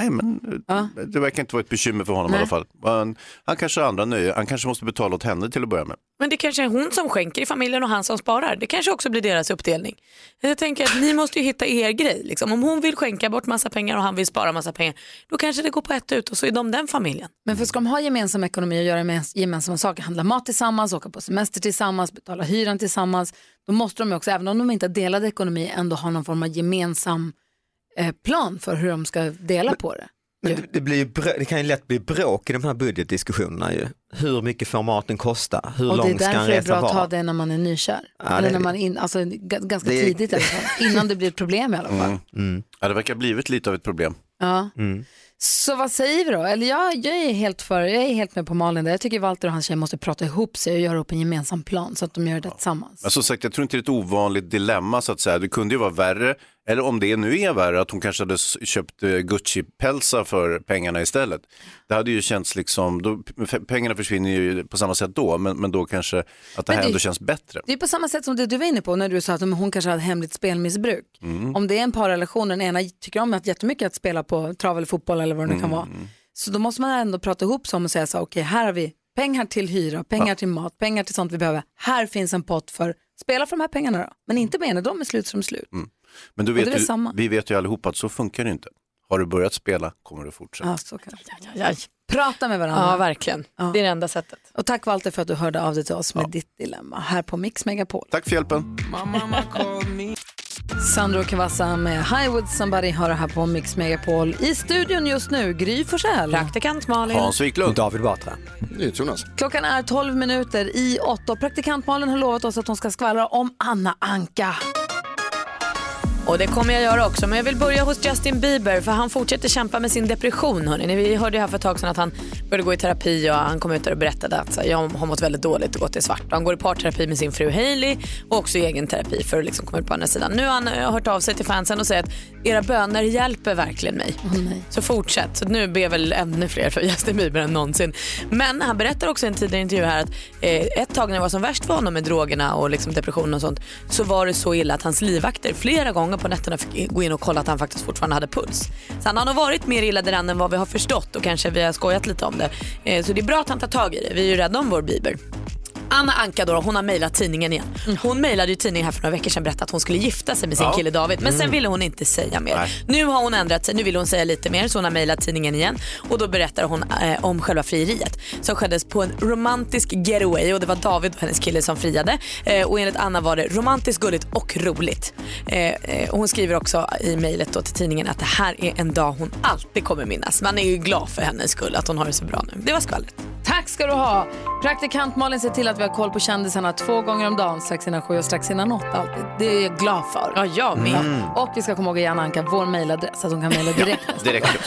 Nej, men eh, det verkar inte vara ett bekymmer för honom Nej. i alla fall. Han, han kanske har andra nöje. Han kanske måste betala åt henne till att börja med. Men det kanske är hon som skänker i familjen och han som sparar. Det kanske också blir deras uppdelning. Jag tänker att ni måste ju hitta er grej. Liksom. Om hon vill skänka bort massa pengar och han vill spara massa pengar, då kanske det går på ett ut och så är de den familjen. Men för ska de ha gemensam ekonomi och göra gemens- gemensamma saker, handla mat tillsammans, åka på semester tillsammans, betala hyran tillsammans, då måste de ju också, även om de inte har delad ekonomi, ändå ha någon form av gemensam eh, plan för hur de ska dela på det. Men det, det, blir ju brö- det kan ju lätt bli bråk i de här budgetdiskussionerna ju. Hur mycket får maten kosta? Hur och det är lång ska därför en det är bra resa att ta vara? det när man är nykär. Ja, Eller det- när man in, alltså, g- ganska det- Mm. tidigt i alla fall, innan det blir ett problem i alla fall. Ja, det verkar ha blivit lite av ett problem. Ja. Så vad säger vi då? Eller jag, jag, är helt för, jag är helt med på Malin där. Jag tycker Walter och hans tjej måste prata ihop sig och göra upp en gemensam plan så att de gör det tillsammans. Men Alltså, som sagt, jag tror inte det är ett ovanligt dilemma så att säga. Det kunde ju vara värre, eller om det nu är värre, att hon kanske hade s- köpt eh, Gucci-pälsar för pengarna istället. Det hade ju känts liksom, då, f- pengarna försvinner ju på samma sätt då, men, men då kanske att det Men här det- ändå känns bättre. Det är på samma sätt som det du var inne på när du sa att om hon kanske hade hemligt spelmissbruk. Mm. Om det är en parrelation, den ena tycker om att jättemycket att spela på trav eller fotboll eller vad det nu Mm. kan vara. Så då måste man ändå prata ihop sig om och säga så här, okej här har vi pengar till hyra, pengar till mat, pengar till sånt vi behöver. Här finns en pott för, spela för de här pengarna då. Men inte mer när de är slut som slut. Mm. Men du Och det är vet väl ju, samma. vi vet ju allihopa att så funkar det inte. Har du börjat spela kommer du fortsätta. Ja, så kanske. Prata med varandra. Mm. Ja, verkligen. Det är det enda sättet. Och tack Walter för att du hörde av dig till oss med ditt dilemma här på Mix Megapol. Tack för hjälpen. Sandro Cavazza med Hi with somebody har det här på Mix Megapol. I studion just nu, Gry Forssell. Praktikant Malin. Wiklund. David Batra. Jonas. Klockan är 12 minuter i åtta och praktikant Malin har lovat oss att hon ska skvallra om Anna Anka. Och det kommer jag göra också. Men jag vill börja hos Justin Bieber för han fortsätter kämpa med sin depression. Hörrni. Ni- Vi hörde ju här för ett tag sedan att han började gå i terapi och han kom ut där och berättade att så här, jag har mått väldigt dåligt och gått i svart. Han går i parterapi med sin fru Hailey och också i egen terapi för att liksom komma ut på andra sidan. Nu har han eh, hört av sig till fansen och säger att era böner hjälper verkligen mig. Så fortsätt. Så nu ber väl ännu fler för Justin Bieber än någonsin. Men han berättar också i en tidigare intervju här att eh, ett tag när det var som värst för honom med drogerna och liksom depressionen och sånt så var det så illa att hans livvakter flera gånger på nätterna fick gå in och kolla att han faktiskt fortfarande hade puls. Så han har nog varit mer illa däran än vad vi har förstått och kanske vi har skojat lite om det. Eh, så det är bra att han tar tag i det. Vi är ju rädda om vår Bieber. Anna Anka då, hon har mejlat tidningen igen. Hon mejlade ju tidningen här för några veckor sedan och berättade att hon skulle gifta sig med sin Mm. Ja. kille David. Men sen Mm. ville hon inte säga mer. Nu har hon ändrat sig, nu vill hon säga lite mer så hon har mejlat tidningen igen. Och då berättar hon eh, om själva frieriet som skeddes på en romantisk getaway och det var David och hennes kille som friade. Eh, och enligt Anna var det romantiskt, gulligt och roligt. Eh, eh, och hon skriver också i mejlet då till tidningen att det här är en dag hon alltid kommer minnas. Man är ju glad för hennes skull att hon har det så bra nu. Det var skvallret. Tack ska du ha! Praktikant Malin ser till att vi har koll på kändisarna två gånger om dagen, strax innan sju och strax innan åtta alltid. Det är jag glad för. Mm. Ja, jag med. Och vi ska komma ihåg att ge Anna Anka vår mejladress så att hon kan mejla direkt. Det räcker.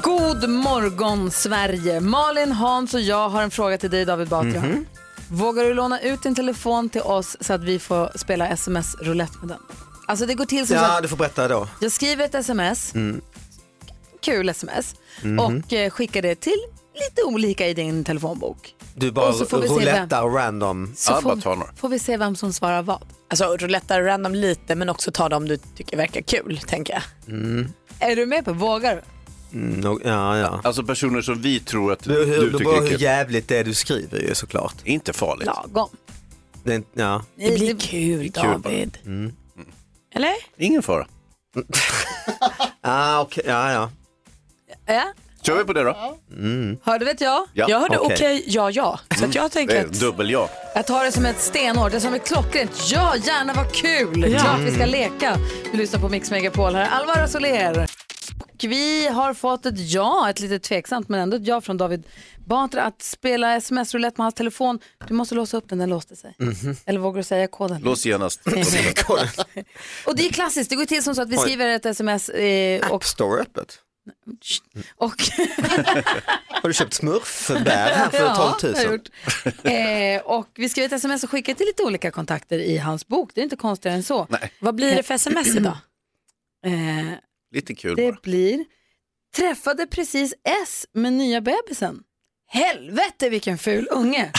God morgon Sverige! Malin, Hans och jag har en fråga till dig David Batra. Mhm. Vågar du låna ut din telefon till oss så att vi får spela sms-roulette med den? Alltså det går till så Ja, att du får berätta då. jag skriver ett sms, Mm. kul sms, Mhm. och eh, skickar det till lite olika i din telefonbok. Du bara Och så får vi se vem- roulettar random. Så får, får vi se vem som svarar vad. Alltså rouletta random lite men också ta dem du tycker verkar kul tänker jag. Mm. Är du med på vågar du? Mm, no, ja, ja. Alltså personer som vi tror att du, du tycker tycker bara är hur kul. jävligt det är du skriver ju såklart. Inte farligt. Lagom. Det, är inte- ja. Det blir kul Det är kul bara. David. Mm. Eller? Ingen fara. ah, okej, ja, ja. Ja. Kör vi på det då? Mm. Hörde vet jag? Ja. Jag hörde okej, Okej. ja, ja. Så att jag Det tänker är att... dubbel ja. Jag tar det som ett stenhårt, det är som ett klockrent. Ja, gärna, vad kul! Ja. Klart vi ska leka. Vi lyssnar på Mix Megapol här. Alvaro Soler. Och vi har fått ett ja, ett lite tveksamt men ändå ett ja från David Batra att spela sms-roulette med hans telefon. Du måste låsa upp den, den låste sig. Eller vågar du säga koden? Lås genast. Och det är klassiskt, det går till som så att vi Oj. skriver ett sms eh, och, Står öppet. och Har du köpt smurfbär här för Ja, 12 000? jag har gjort. Eh, och vi skrev ett sms och skickade till lite olika kontakter i hans bok. Det är inte konstigare än så. Vad blir det för sms idag? Eh, Lite kul bara. det blir träffade precis S med nya bebisen. Helvete vilken ful unge.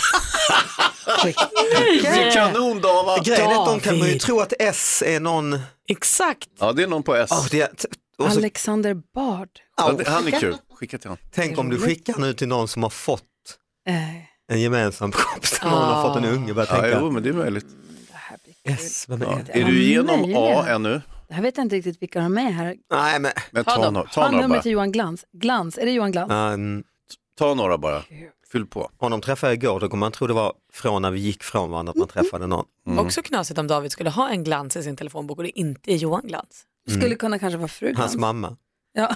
Vilken kanondava! Grejen är att de kan man ju David. tro att S är någon... Exakt. Ja, det är någon på S. Oh, det är... t- och så... Alexander Bard. Ja, det- han är kul. Skicka till honom. Tänk om du Roligt. skickar nu till någon som har fått Eh, en gemensam kompis, någon har fått en Ah. unge. Bara Ja, tänka, jo, men det är möjligt. S, vem är Ja. det? Är du igenom A möjliga. ännu? det här vet jag inte riktigt vilka de är med här. Nej, men... Men ta, dem. no- Ta ta några numret bara. till Johan Glans. Glans, är det Johan Glans? Um, Ta några bara. Fyll på. honom träffade jag igår, då kommer man tro det var från när vi gick från varandra att man träffade någon. Också knasigt om David skulle ha en glans i sin telefonbok och det inte är Johan Glans. Mm. Skulle kunna kanske vara fru Hans Glans. mamma. Ja.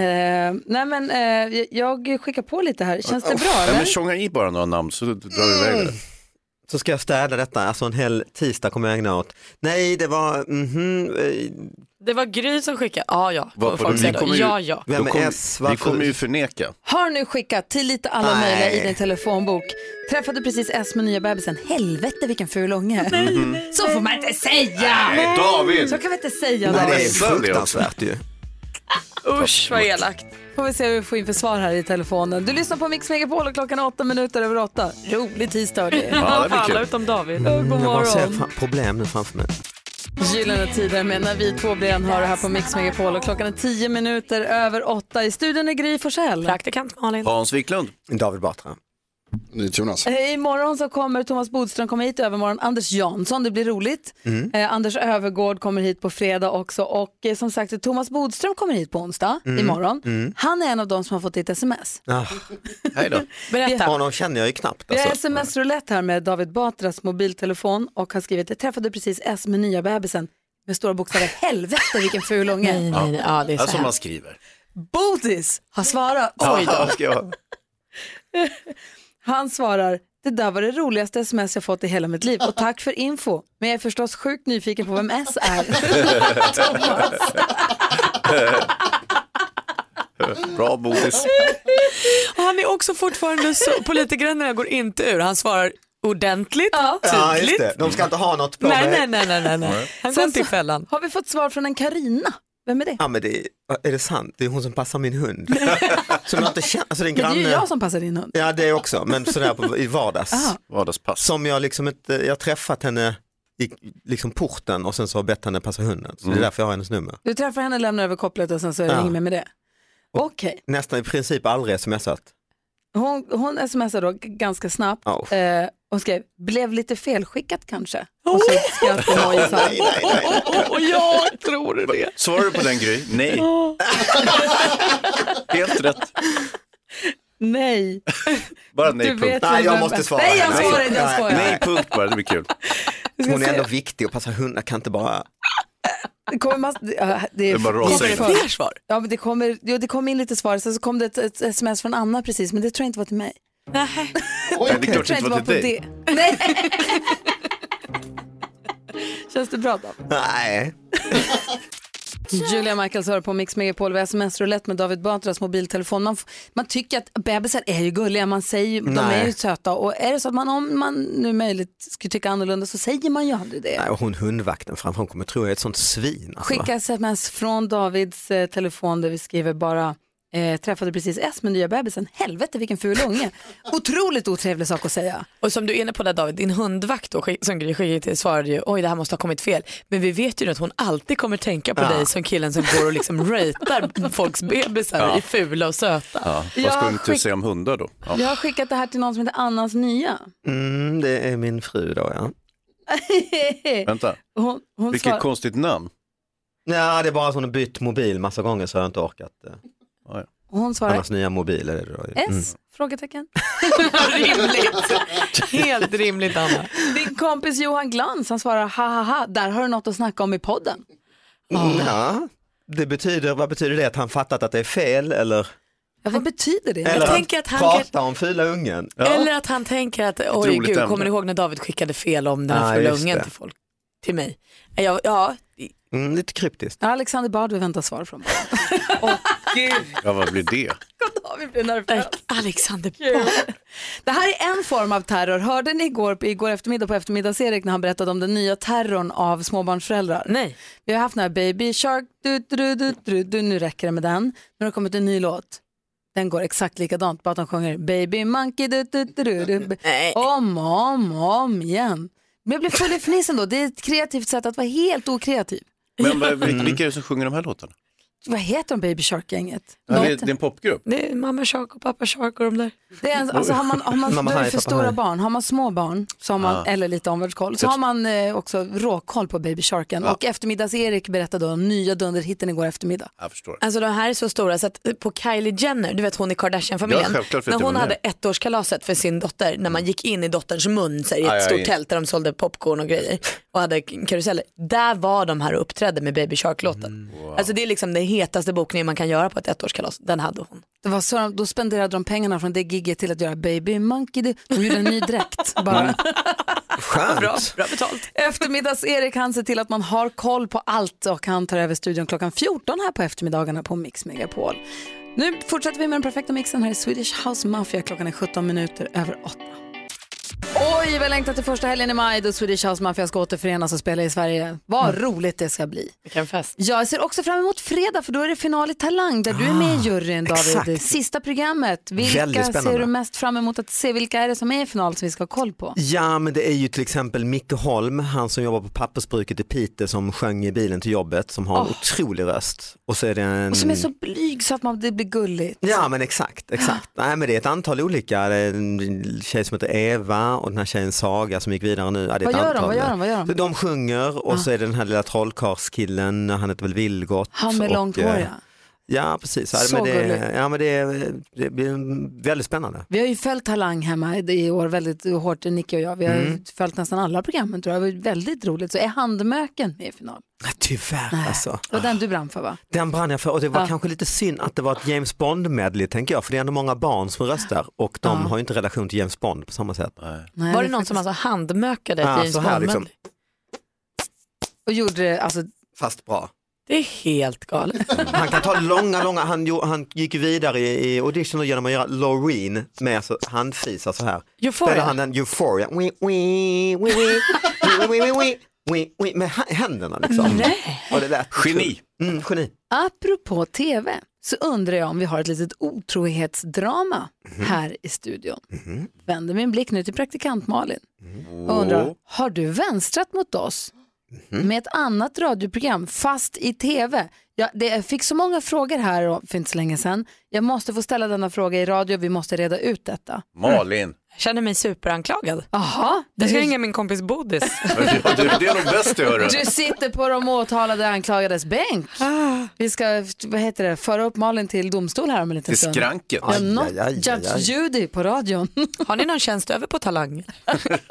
eh, nej men eh, jag skickar på lite här. Känns det bra Nej, men eller? tjonga i bara några namn så drar vi iväg det. Så ska jag städa detta, alltså en hel tisdag kommer jag ägna åt. Nej, det var, mhm, eh, Det var Gry som skickade, ja ja. Vad på- Folk vi säger då, kommer ju- ja ja. Vem Då är kommer- S? Vi Varför- kommer ju förneka. Har nu skickat till lite alla Nej. möjliga i din telefonbok. Träffade precis S med nya bebisen. Helvete vilken ful unge. Mhm. Så får man inte säga! Nej, David. Så kan vi inte säga nej, det David. är fruktansvärt ju. Usch vad elakt. Får vi se vad vi får in för svar här i telefonen. Du lyssnar på Mix Megapol och klockan är åtta minuter över åtta. Rolig tisdag hörni. Ja, Mm, det blir kul. Alla utom David. God Jag bara ser morgon. fan, problem nu framför mig. Gyllene tider med när vi två blir en hörare här på Mix Megapol och klockan är tio minuter över åtta. I studion är Gry Forssell. Praktikant Malin. Hans Wiklund. David Batra. NyhetsJonas. Eh, Imorgon så kommer Thomas Bodström komma hit, i övermorgon Anders Jansson, det blir roligt. Mm. Eh, Anders Övergård kommer hit på fredag också och eh, som sagt Thomas Bodström kommer hit på onsdag Mm. imorgon. Mm. Han är en av dem som har fått ditt sms. Ah, Hej då. Berätta. honom känner jag ju knappt. Vi har Alltså. sms-roulette här med David Batras mobiltelefon och han skriver jag träffade precis S med nya bebisen med stora bokstäver. Helvete vilken ful unge. Nej, nej, ja, det är så Alltså här. man skriver. Bodis har svarat. Ja, ska jag- Han svarar, det där var det roligaste sms jag fått i hela mitt liv och tack för info. Men jag är förstås sjukt nyfiken på vem S är. Thomas. Bra bodis. Och han är också fortfarande så, politikerna går inte ur. Han svarar ordentligt, Ja, just tydligt. det. De ska inte ha något på nej, mig. nej, nej, nej, nej, nej. Han går Sen inte i så- fällan. Har vi fått svar från en Karina? Vem är det? Ja, men det, är det sant? Det är hon som passar min hund. som jag inte känner, alltså det är en Ja, det är granne. ju jag som passar din hund. Ja, det också, men sådär på, i vardags. Aha. Vardagspass. Som jag liksom inte, jag har träffat henne i liksom porten och sen så har jag bett henne passa hunden. Så det är därför jag har hennes nummer. Du träffar henne, lämnar över kopplet och sen så är det Ja. inget mer med det. Okej, Nästan i princip aldrig smsat. hon, hon smsar då g- ganska snabbt Oh. eh, och skrev, blev lite felskickat kanske? Och så ett skratt-emoji så här. Och jag tror det. Svarar du på den Gry? Nej. Helt rätt. Nej, Bara du nej vet punkt. Nej, vem jag det måste är. svara. Nej, jag Nej. svarar inte, jag Nej. skojar. Nej punkt bara, det blir kul. Vi ska Hon är se. ändå viktig och passar hundar, kan inte bara... Det kommer mass- det- ja, det är Det bara rasar in. för- Fler svar. Ja, men det, kommer, jo, det kom in lite svar, sen så kom det ett, ett sms från Anna precis, men det tror jag inte var till mig. Nej. Nej, det är Jag klart tror det inte inte var till dig. på det. Nej. Känns det bra då? Nej. Julia Michaels hör på Mix Megapol. Vi har sms-roulette med David Batras mobiltelefon. Man, f- man tycker att bebisar är ju gulliga, man säger, ju- de Nej. är ju söta. Och är det så att man, om man nu möjligt skulle tycka annorlunda så säger man ju aldrig det. Nej, och hon hundvakten framför, hon kommer tro att jag är ett sånt svin. Alltså. Skicka sms från Davids eh, telefon där vi skriver bara eh, träffade precis S med nya bebisen. Helvete vilken ful unge. Otroligt otrevlig sak att säga. Och som du är inne på där David, din hundvakt då, skick- som Gry skickade till svarade ju oj det här måste ha kommit fel. Men vi vet ju att hon alltid kommer tänka på Ja. dig som killen som går och liksom ratear folks bebisar Ja. i fula och söta. Ja. Jag Vad ska hon skick- inte säga om hundar då? Ja. Jag har skickat det här till någon som heter Annas nya. Mm, det är min fru då ja. Vänta, hon, hon vilket svarar- konstigt namn. Nej, det är bara att hon har bytt mobil massa gånger så har jag inte orkat. eh, Hon svarar Annars nya mobil är det då. ju. Mm. S? Frågetecken. rimligt. Helt rimligt Anna. Din kompis Johan Glans han svarar ha ha ha, där har du något att snacka om i podden. Ja, det betyder, vad betyder det? Att han fattat att det är fel eller? Ja, vad betyder det? eller tänker att han pratar om fula ungen. Eller att han tänker att oj roligt gud, ämne. kommer ni ihåg när David skickade fel om den här Ja, fula just ungen det. till folk? Till mig. Ja, ja. Mm, lite kryptiskt. Alexander Bard vi väntar svar från honom. Ja, vad blir det? Vi blir nervösa. Alexander Det här är en form av terror. Hörde ni igår, igår eftermiddag på eftermiddags-Erik när han berättade om den nya terrorn av småbarnsföräldrar? Nej. Vi har haft den här Baby Shark, du, du, du, du, du, nu räcker det med den. Nu har det kommit en ny låt. Den går exakt likadant, bara att de sjunger Baby Monkey, du, du, du, du, du. om och om och om igen. Men jag blev full i fniss ändå. Det är ett kreativt sätt att vara helt okreativ. Men vad- vil- Mm. vilka är det som sjunger de här låtarna? Vad heter de Baby Shark-gänget? Ja, det, är- det är en popgrupp. Det är mamma Shark och pappa Shark och de där. Det är en, alltså har man, har man Mamma då är det Haj, för Pappa stora Haj. barn, har man små barn så har man, Ah. eller lite omvärldskoll, så Jag har man eh, också råkoll på Baby Sharken. Och eftermiddags-Erik berättade om nya dunderhitten igår eftermiddag. Jag förstår. Alltså de här är så stora så att på Kylie Jenner, du vet hon i Ja, Kardashian-familjen, självklart vet när jag hon vem hade det ettårskalaset för sin dotter, när man gick in i dotterns mun så här, i ett Aj, aj, stort aj. tält där de sålde popcorn och grejer och hade k- karuseller, där var de här och uppträdde med Baby Shark-låten. Alltså det är liksom den hetaste bokningen man kan göra på ett ettårskalas, den hade hon. Det var så de, då spenderade de pengarna från det gigget till att göra Baby Monkey, du. de gjorde en ny dräkt bara. Skönt. Bra, bra betalt. Eftermiddags-Erik han ser till att man har koll på allt och han tar över studion klockan 14 här på eftermiddagarna på Mix Megapol. Nu fortsätter vi med den perfekta mixen här i Swedish House Mafia. Klockan är 17 minuter över 8. Oj, vi har längtat till första helgen i maj då Swedish House Mafia ska återförenas och spela i Sverige. Vad roligt det ska bli. Vilken fest. Jag ser också fram emot fredag för då är det final i Talang där du är med i juryn David. Ah, exakt. Sista programmet. Vilka Väldigt spännande. ser du mest fram emot att se? Vilka är det som är i final som vi ska ha koll på? Ja men det är ju till exempel Micke Holm, han som jobbar på pappersbruket i Piteå som sjöng i bilen till jobbet som har en Åh. otrolig röst. Och så är det en... Och som är så blyg så att man, det blir gulligt. Ja men exakt, exakt. Nej men det är ett antal olika, det är en tjej som heter Eva och den här tjejen Saga som gick vidare nu. Ja, det är Vad ett gör de? antal. Vad gör de? Vad gör de? Så De sjunger och så är det den här lilla trollkarlskillen, han heter väl Vilgot. Han med och, långt hår, eh, ja. Ja precis, ja, Så men det, gulligt. ja, men det, det blir väldigt spännande. Vi har ju följt Talang hemma i år väldigt hårt, Nicky och jag. Vi har ju Mm. följt nästan alla programmen tror jag. Det var ju väldigt roligt. Så är Handmöken med i final? Tyvärr alltså. Det var den du brann för va? Den brann jag för och det var Ja. kanske lite synd att det var ett James Bond-medley tänker jag, för det är ändå många barn som röstar och de har ju inte relation till James Bond på samma sätt. var det, någon som alltså handmökade ett Ah, James så här Bond? liksom. Och gjorde, alltså, Fast bra. Det är helt galet. Han kan ta långa, långa, han, jo, han gick ju vidare i, i auditioner genom att göra Loreen med alltså handfisar så här. Euphoria. Spelar han den Euphoria, wee, wee, wee, wee, wee, wee, wee, wee, wee, wee, med hä- händerna liksom. Och det lät geni. Mm, geni. Apropå tv så undrar jag om vi har ett litet otrohetsdrama här i studion. Vänder min blick nu till praktikant Malin och undrar, har du vänstrat mot oss? Med ett annat radioprogram, fast i tv. Jag, det, jag fick så många frågor här och- för inte så länge sedan. Jag måste få ställa denna fråga i radio, vi måste reda ut detta. Malin. Jag känner mig superanklagad. Aha, Jag ska ringa min kompis Bodis. Ja, du, det är nog bäst du hörru. Du sitter på de åtalade anklagades bänk. Vi ska vad heter det, föra upp Malin till domstol här om en liten Till stund. skranket. Ja, Aj, not aj, aj, Judge aj. Judy på radion. Har ni någon tjänst över på Talang?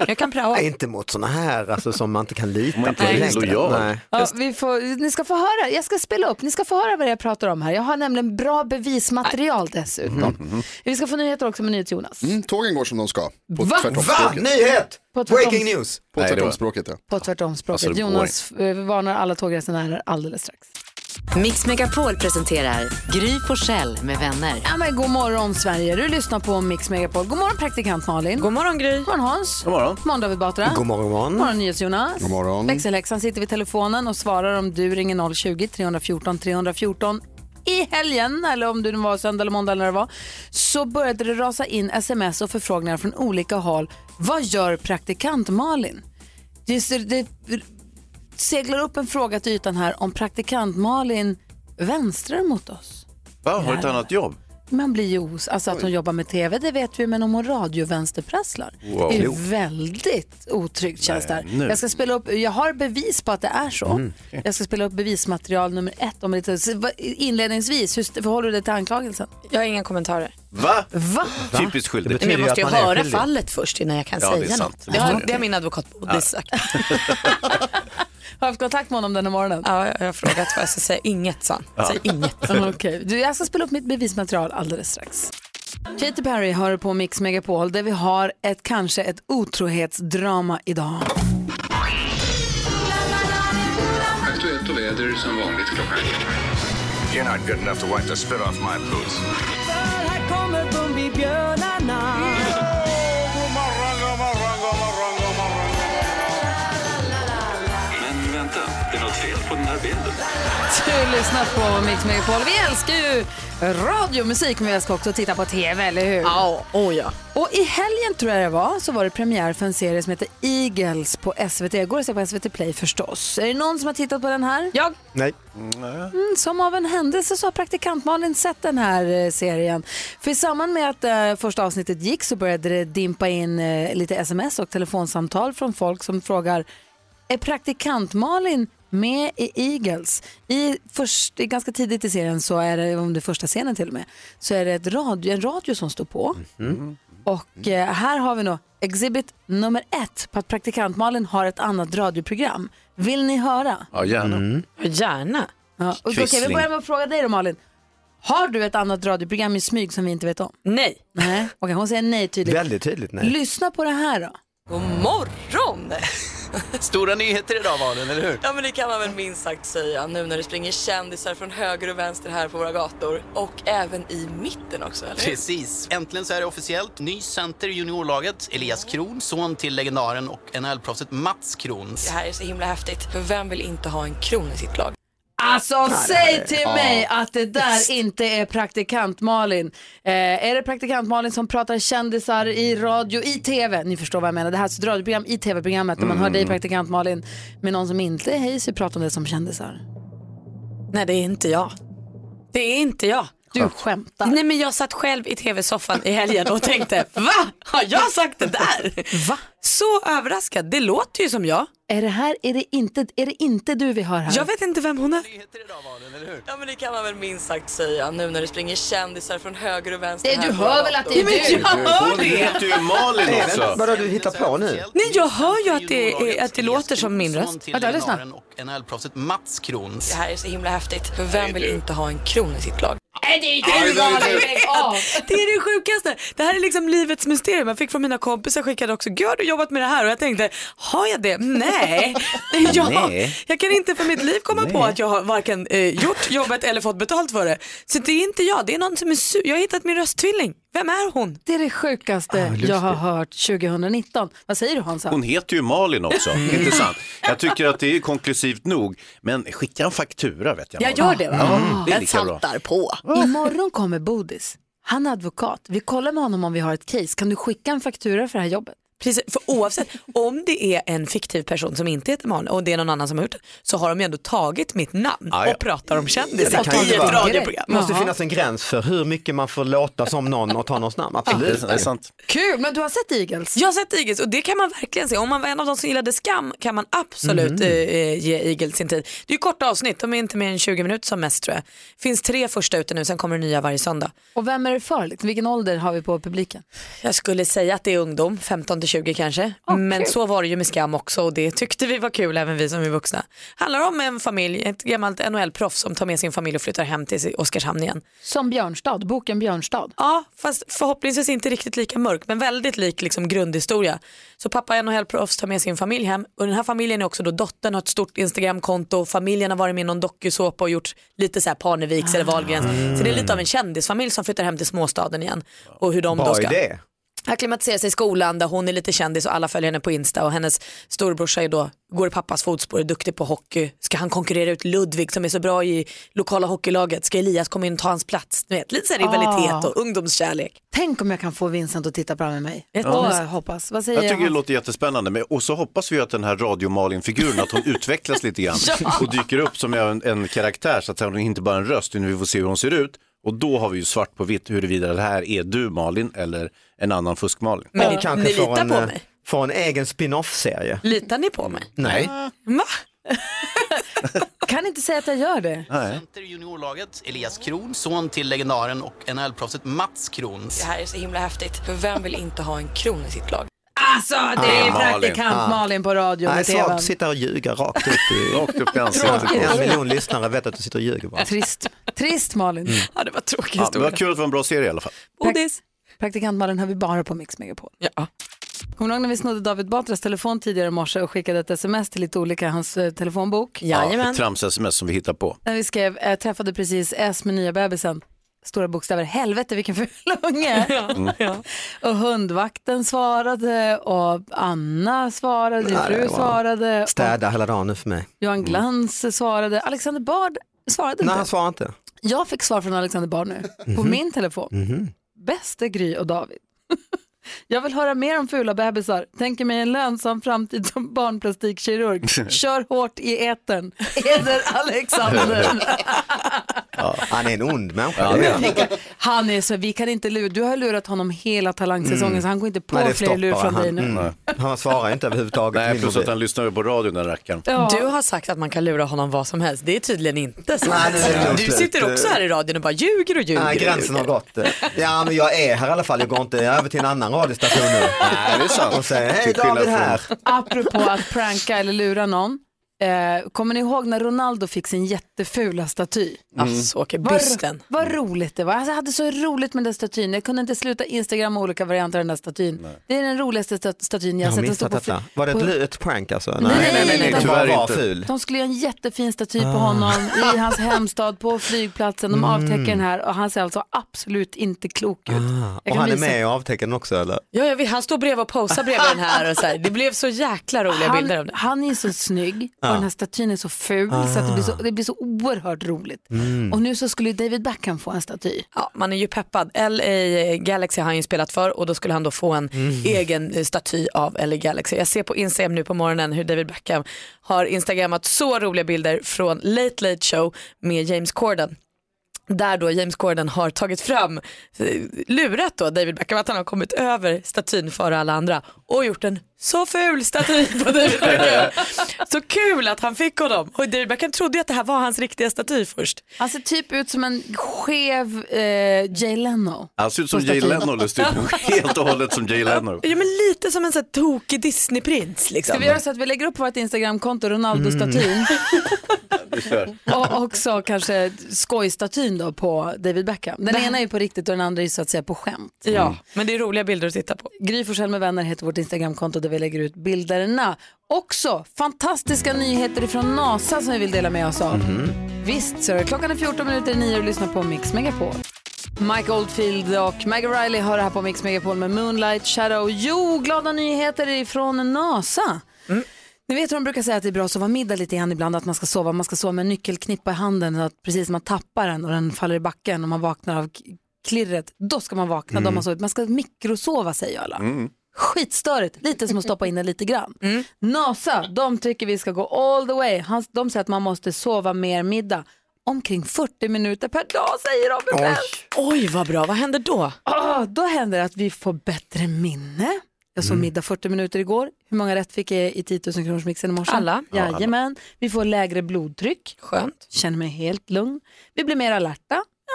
Jag kan prata. Nej, inte mot sådana här alltså, som man inte kan lita man på. inte är lojal. Nej. Ja, vi får, ni ska få höra, jag ska spela upp, ni ska få höra vad jag pratar om här. Jag har nämligen bra bevismaterial dessutom. Vi ska få nyheter också med NyhetsJonas. Mm, tågen går som de ska. På Va? tvärtomspråket. Va? Nyhet! På tvärtoms- Breaking news! På Nej, det var- tvärtomspråket ja. På tvärtomspråket. Alltså, det går Jonas eh, varnar alla tågresenärer alldeles strax. Mix Megapol presenterar Gry Forssell med vänner. Ja, men god morgon Sverige, du lyssnar på Mix Megapol. God morgon praktikant Malin. God morgon Gry. God morgon Hans. God morgon. God morgon David Batra. God morgon, god morgon. God morgon Jonas. God morgon. Växelhäxan sitter vid telefonen och svarar om du ringer 020-314 314 i helgen, eller om det nu var söndag eller måndag eller när det var, så började det rasa in sms och förfrågningar från olika håll. Vad gör praktikant Malin? Det, ser- det seglar upp en fråga till ytan här om praktikant Malin vänstrar mot oss. Va, har du ett annat jobb? Man blir ju os- alltså att hon jobbar med tv, det vet vi, men om hon radiovänsterprasslar. Wow. Det är Jo. ju väldigt otryggt känns det Nej, här. nu. Jag ska spela upp, jag har bevis på att det är så. Mm. Jag ska spela upp bevismaterial nummer ett om lite. så vad- Inledningsvis, hur st- förhåller du dig till anklagelsen? Jag har inga kommentarer. Va? Va? Typiskt skyldig. Men jag måste ju höra fallet först innan jag kan Ja, det är säga sant. något. Det Det har, måste du. det har min advokat Bodil Ja. sagt. Har du haft kontakt med honom den här morgonen? Ja, jag har frågat vad jag ska säga. Inget sa han. Ja. Säg inget. Okej, du, jag ska spela upp mitt bevismaterial alldeles strax. Katy Perry hör på Mix Megapol där vi har ett kanske ett otrohetsdrama idag. Aktuellt och väder som vanligt klockan You're not good enough to wipe the spit off my boots. Här kommer Bumbibjörnarna. God morgon, god morgon, god morgon, god morgon. Men vänta, det är något fel på den här bilden. Du lyssnar på Mix Megapol. Vi älskar ju radiomusik men vi älskar också att titta på tv, eller hur? Ja, oh ja. Och i helgen tror jag det var så var det premiär för en serie som heter Eagles på SVT. Jag går att se på SVT Play förstås. Är det någon som har tittat på den här? Jag. Nej. Mm, som av en händelse så har praktikant Malin sett den här eh, serien. För i samband med att eh, första avsnittet gick så började det dimpa in eh, lite sms och telefonsamtal från folk som frågar är praktikant Malin med i Eagles? I först, i ganska tidigt i serien, så är det, om det är första scenen till och med, så är det ett radio, en radio som står på. Och eh, här har vi nog exhibit nummer ett på att praktikant Malin har ett annat radioprogram. Vill ni höra? Ja, gärna. Gärna. Ja, och då kan vi Quisling. börja med att fråga dig då Malin. Har du ett annat radioprogram i smyg som vi inte vet om? Nej. Nej, okej hon säger nej tydligt. Väldigt tydligt nej. Lyssna på det här då. God morgon! Stora nyheter idag Malin, eller hur? Ja men det kan man väl minst sagt säga nu när det springer kändisar från höger och vänster här på våra gator och även i mitten också eller hur? Precis. Äntligen så är det officiellt. Ny center i juniorlaget, Elias Kron, son till legendaren och NHL-proffset Mats Kron. Det här är så himla häftigt för vem vill inte ha en kron i sitt lag? Alltså säg till Ja. mig att det där inte är praktikant Malin. Eh, är det praktikant Malin som pratar kändisar i radio, i tv? Ni förstår vad jag menar. Det här är alltså ett radioprogram i tv-programmet där man hör Mm. dig praktikant Malin med någon som inte är hejs och pratar om det som kändisar. Nej det är inte jag. Det är inte jag. Du skämtar. Nej men jag satt själv i tv-soffan i helgen och tänkte va? Har jag sagt det där? Va? Så överraskad, det låter ju som jag. Är det här, är det inte, är det inte du vi hör här? Jag vet inte vem hon är. Ja men det kan man väl minst sagt säga nu när det springer kändisar från höger och vänster. Det- här du på hör vår väl att dator. det är du? Ja, men jag hör Hon det. heter ju Malin Nej, också. Alltså- vänta, Vadå du hittar på nu? Nej jag hör ju att det, är, att det låter som min Son röst. till legendaren och NHL-proffset Mats Kron. Det här är så himla häftigt för vem vill inte ha en kron i sitt lag? Nej det Ja, det är du, Malin. Lägg av. Det är det sjukaste. Det här är liksom livets mysterium. Jag fick från mina kompisar skickade också, gud har du jobbat med det här? Och jag tänkte, har jag det? Nej. Jag, Nej. jag kan inte för mitt liv komma på att jag har varken eh, gjort jobbet eller fått betalt för det. Så det är inte jag, det är någon som är sur. Jag har hittat min rösttvilling. Vem är hon? Det är det sjukaste Ah, jag har hört 2019. Vad säger du Hansa? Hon heter ju Malin också, intressant. Jag tycker att det är konklusivt nog, men skicka en faktura vet jag. Jag gör det, va? Ja, Mm. det är Jag lika bra. på. Imorgon kommer Bodis. Han är advokat. Vi kollar med honom om vi har ett case. Kan du skicka en faktura för det här jobbet? Precis, för oavsett, om det är en fiktiv person som inte heter Malin och det är någon annan som har gjort det, så har de ju ändå tagit mitt namn Ja, ja. och pratar om Det kändisar kan ju i ett inte vara- radioprogram. Det måste Jaha. finnas en gräns för hur mycket man får låta som någon och ta någons namn. Absolut. Ja, det är sant. Kul, men du har sett Eagles? Jag har sett Eagles och det kan man verkligen se. Om man var en av de som gillade Skam kan man absolut Mhm. eh, eh, ge Eagles sin tid. Det är ju korta avsnitt, de är inte mer än 20 minuter som mest tror jag. Finns tre första ute nu, sen kommer det nya varje söndag. Och vem är det för? Liksom, vilken ålder har vi på publiken? Jag skulle säga att det är ungdom, 15-20 20 kanske. Men så var det ju med Skam också och det tyckte vi var kul även vi som är vuxna. Handlar om en familj, ett gammalt NHL-proffs som tar med sin familj och flyttar hem till Oskarshamn igen. Som Björnstad, boken Björnstad. Ja, fast förhoppningsvis inte riktigt lika mörk men väldigt lik liksom, grundhistoria. Så pappa är NHL-proffs, tar med sin familj hem och den här familjen är också då dottern har ett stort Instagramkonto, familjen har varit med i någon dokusåpa och gjort lite så här Parneviks eller Wahlgrens. Så det är lite av en kändisfamilj som flyttar hem till småstaden igen. Och hur de då Bra ska idé. acklimatisera sig i skolan där hon är lite kändis och alla följer henne på Insta och hennes storbrorsa är då, går i pappas fotspår, är duktig på hockey. Ska han konkurrera ut Ludvig som är så bra i lokala hockeylaget? Ska Elias komma in och ta hans plats? Du vet, lite så här rivalitet Ah. och ungdomskärlek. Tänk om jag kan få Vincent att titta på det här med mig. Ja. Åh, jag hoppas. Vad säger Jag tycker det Hans? låter jättespännande. Men, och så hoppas vi att den här radiomalin-figuren, att hon utvecklas lite grann Ja. och dyker upp som en, en karaktär så att hon inte bara är en röst, utan vi får se hur hon ser ut. Och då har vi ju svart på vitt huruvida det här är du Malin eller en annan fusk-Malin. Men ni kanske får, en, eh, får en egen spin-off-serie. Litar ni på mig? Mm. Nej. Kan inte säga att jag gör det. Center juniorlaget Elias Kron, son till legendaren och NHL-proffset Mats Kron. Det här är så himla häftigt, för vem vill inte ha en kron i sitt lag? Alltså det är Ah, Malin. praktikant Ah. Malin på radio Nej, och svagt tvn. att sitta och ljuga rakt upp i, rakt upp i ansiktet. En miljon lyssnare vet att du sitter och ljuger bara. Trist. Trist Malin. Mm. Ja, det var tråkigt. Ja, det var kul att det var en bra serie i alla fall. Bodis. Praktikant Malin har vi bara på Mix Megapol. Ja. Kommer du ihåg när vi snodde David Batras telefon tidigare i morse och skickade ett sms till lite olika hans eh, telefonbok? Ja, ett trams-sms som vi hittar på. När vi skrev, jag träffade precis S med nya bebisen. Stora bokstäver, helvete vilken ful unge. Mm. Och hundvakten svarade och Anna svarade, din Nej, det fru var- svarade, Städa hela dagen nu för mig. Johan Glans svarade, Alexander Bard svarade Nej, inte. han svarar inte. Jag fick svar från Alexander Bard nu, på Mhm. min telefon. Mhm. Bäste Gry och David. Jag vill höra mer om fula bebisar. Tänker mig en lönsam framtid som barnplastikkirurg. Kör hårt i etern. Eder Alexander. Ja, han är en ond människa. Ja, det är han. Han är så, vi kan inte lura, du har lurat honom hela talangsäsongen Mm. så han går inte på Nej, det fler lur stoppar från dig nu. han, mm. han svarar inte överhuvudtaget. Nej, plus att han lyssnar ju på radion den rackaren. Du har sagt att man kan lura honom vad som helst. Det är tydligen inte sant. Nej, det är lugnt. du sitter också här i radion och bara ljuger och ljuger. Nej, och gränsen har ljuger. gått. Ja, men jag är här i alla fall. Jag går inte över till en annan radiostation nu. Nej, det är sant. Och säger, hej Till skillnad David från- här. Apropå att pranka eller lura någon. Eh, kommer ni ihåg när Ronaldo fick sin jättefula staty? Mm. Alltså, åker Vad- bysten. Vad roligt det var. Alltså, jag hade så roligt med den statyn. Jag kunde inte sluta Instagram och olika varianter av den där statyn. Det är den roligaste stat- statyn jag Jag har har sett. Den står missat på fri- detta. Var det på- ett, lu- ett prank alltså? Nej, nej, nej, det de- var Tyvärr bara inte. ful. De skulle göra en jättefin staty på Ah. honom i hans hemstad på flygplatsen. De Mm. avtäcker den här och han ser alltså absolut inte klok ut. Ah, Jag och kan han är visa. med i avtecken också eller? Ja, jag vet, han står bredvid och posar bredvid den här och så här. Det blev så jäkla roliga han, bilder av det. Han är så snygg och Ja. Ah. den här statyn är så ful så att det blir så, det blir så oerhört roligt. Mm. Och nu så skulle David Beckham få en staty. Ja, man är ju peppad. LA Galaxy har han ju spelat för och då skulle han då få en egen eh, staty av LA Galaxy. Jag ser på Instagram nu på morgonen hur David Beckham har instagrammat så roliga bilder från Late Late Show med James Corden. Där då James Corden har tagit fram, eh, lurat då David Beckham att han har kommit över statyn före alla andra och gjort en så ful staty på David Beckham. Så kul att han fick honom. Och David Beckham trodde ju att det här var hans riktiga staty först. Han ser typ ut som en skev eh, Jay Leno. Han ser ut som På statyn. Jay Leno, lustigt nog. Helt och hållet som Jay Leno. Ja men lite som en sån här tokig Disneyprins liksom. Ska vi göra så att vi lägger upp på vårt Instagramkonto Ronaldo-statyn och också kanske skojstatyn då på David Beckham. Den Det- ena är ju på riktigt och den andra är ju så att säga på skämt. Mm. Ja, men det är roliga bilder att titta på. Gry Forssell med vänner heter vårt Instagramkonto där vi lägger ut bilderna. Också fantastiska nyheter från NASA som vi vill dela med oss av. Visst, så är det. klockan är 14 minuter i nio och lyssna på Mix Megapol. Mike Oldfield och Maggie Riley har det här på Mix Megapol med Moonlight Shadow. Jo, glada nyheter ifrån NASA. Ni vet hur de brukar säga att det är bra att sova middag lite grann ibland, att man ska sova, man ska sova med en nyckelknippa i handen, så att precis man tappar den och den faller i backen och man vaknar av k- klirret, då ska man vakna, då har Mm. man sovit. Man ska mikrosova säger alla. Skitstörigt, lite som att stoppa in den lite grann. NASA, de tycker vi ska gå all the way. Han, de säger att man måste sova mer middag, omkring 40 minuter per dag säger de. Oj. Oj, vad bra. Vad händer då? Ah, då händer det att vi får bättre minne. Jag såg Mm. middag 40 minuter igår. Hur många rätt fick jag i 10 000 kronors mixen i morse? Alla. Ja, alla. Jajamän. Vi får lägre blodtryck. Skönt. Känner mig helt lugn. Vi blir mer alerta.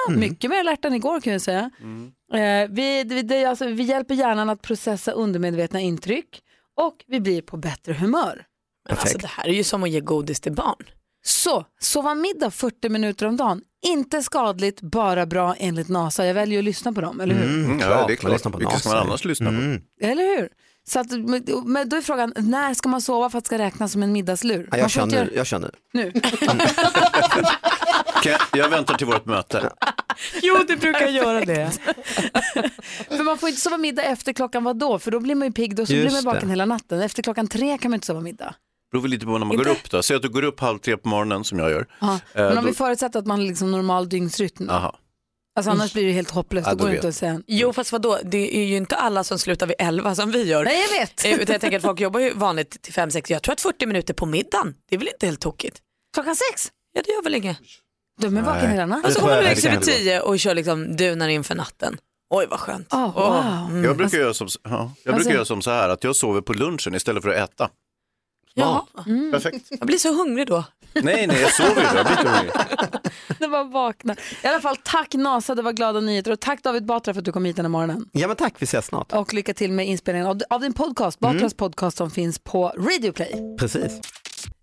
Ja, Mm. Mycket mer alert än igår kan jag säga. Mm. Eh, vi, vi, det, är alltså, vi hjälper hjärnan att processa undermedvetna intryck och vi blir på bättre humör. Men alltså, det här är ju som att ge godis till barn. Så, sova middag 40 minuter om dagen. Inte skadligt, bara bra enligt NASA. Jag väljer att lyssna på dem, eller hur? Mm, ja, det är klart. Mm. Vilket ska man annars lyssna på? Eller hur? Så att, men då är frågan, när ska man sova för att det ska räknas som en middagslur? Ja, Man jag, får inte känner, göra- jag känner. Nu. Kan jag- Jag väntar till vårt möte. Jo, du brukar göra det. för man får inte sova middag efter klockan vad då? För då blir man ju pigg och så blir Just man vaken det. hela natten. Efter klockan tre kan man inte sova middag. beror väl lite på när man går upp då. Säg att du går upp halv tre på morgonen som jag gör. Ja. Eh, Men om då- vi förutsätter att man har liksom normal dygnsrytm. Aha. Alltså annars blir det ju helt hopplöst. Ja, Då då går det vet inte att säga. Jo fast vadå, det är ju inte alla som slutar vid 11 som vi gör. Nej, jag vet. Eh, Utan jag tänker att folk jobbar ju vanligt till 5-6. Jag tror att 40 minuter på middagen, det är väl inte helt tokigt? Klockan sex? Ja det gör väl inget. Du är vaken hela natten. Och så går man och lägger sig vid 10 och kör liksom dunar inför natten. Oj vad skönt. Oh, wow. Jag brukar, göra, som, ja, jag brukar göra som så här att jag sover på lunchen istället för att äta. Jaha. Mm. Perfekt. Jag blir så hungrig då. Nej, nej, jag sover ju. då. Jag blir inte hungrig. När man vaknar. I alla fall tack NASA, det var glada nyheter. Och tack David Batra för att du kom hit den här morgonen. Ja men tack, vi ses snart. Och lycka till med inspelningen av, av din podcast, Mm. Batras podcast som finns på Radio Play. Precis.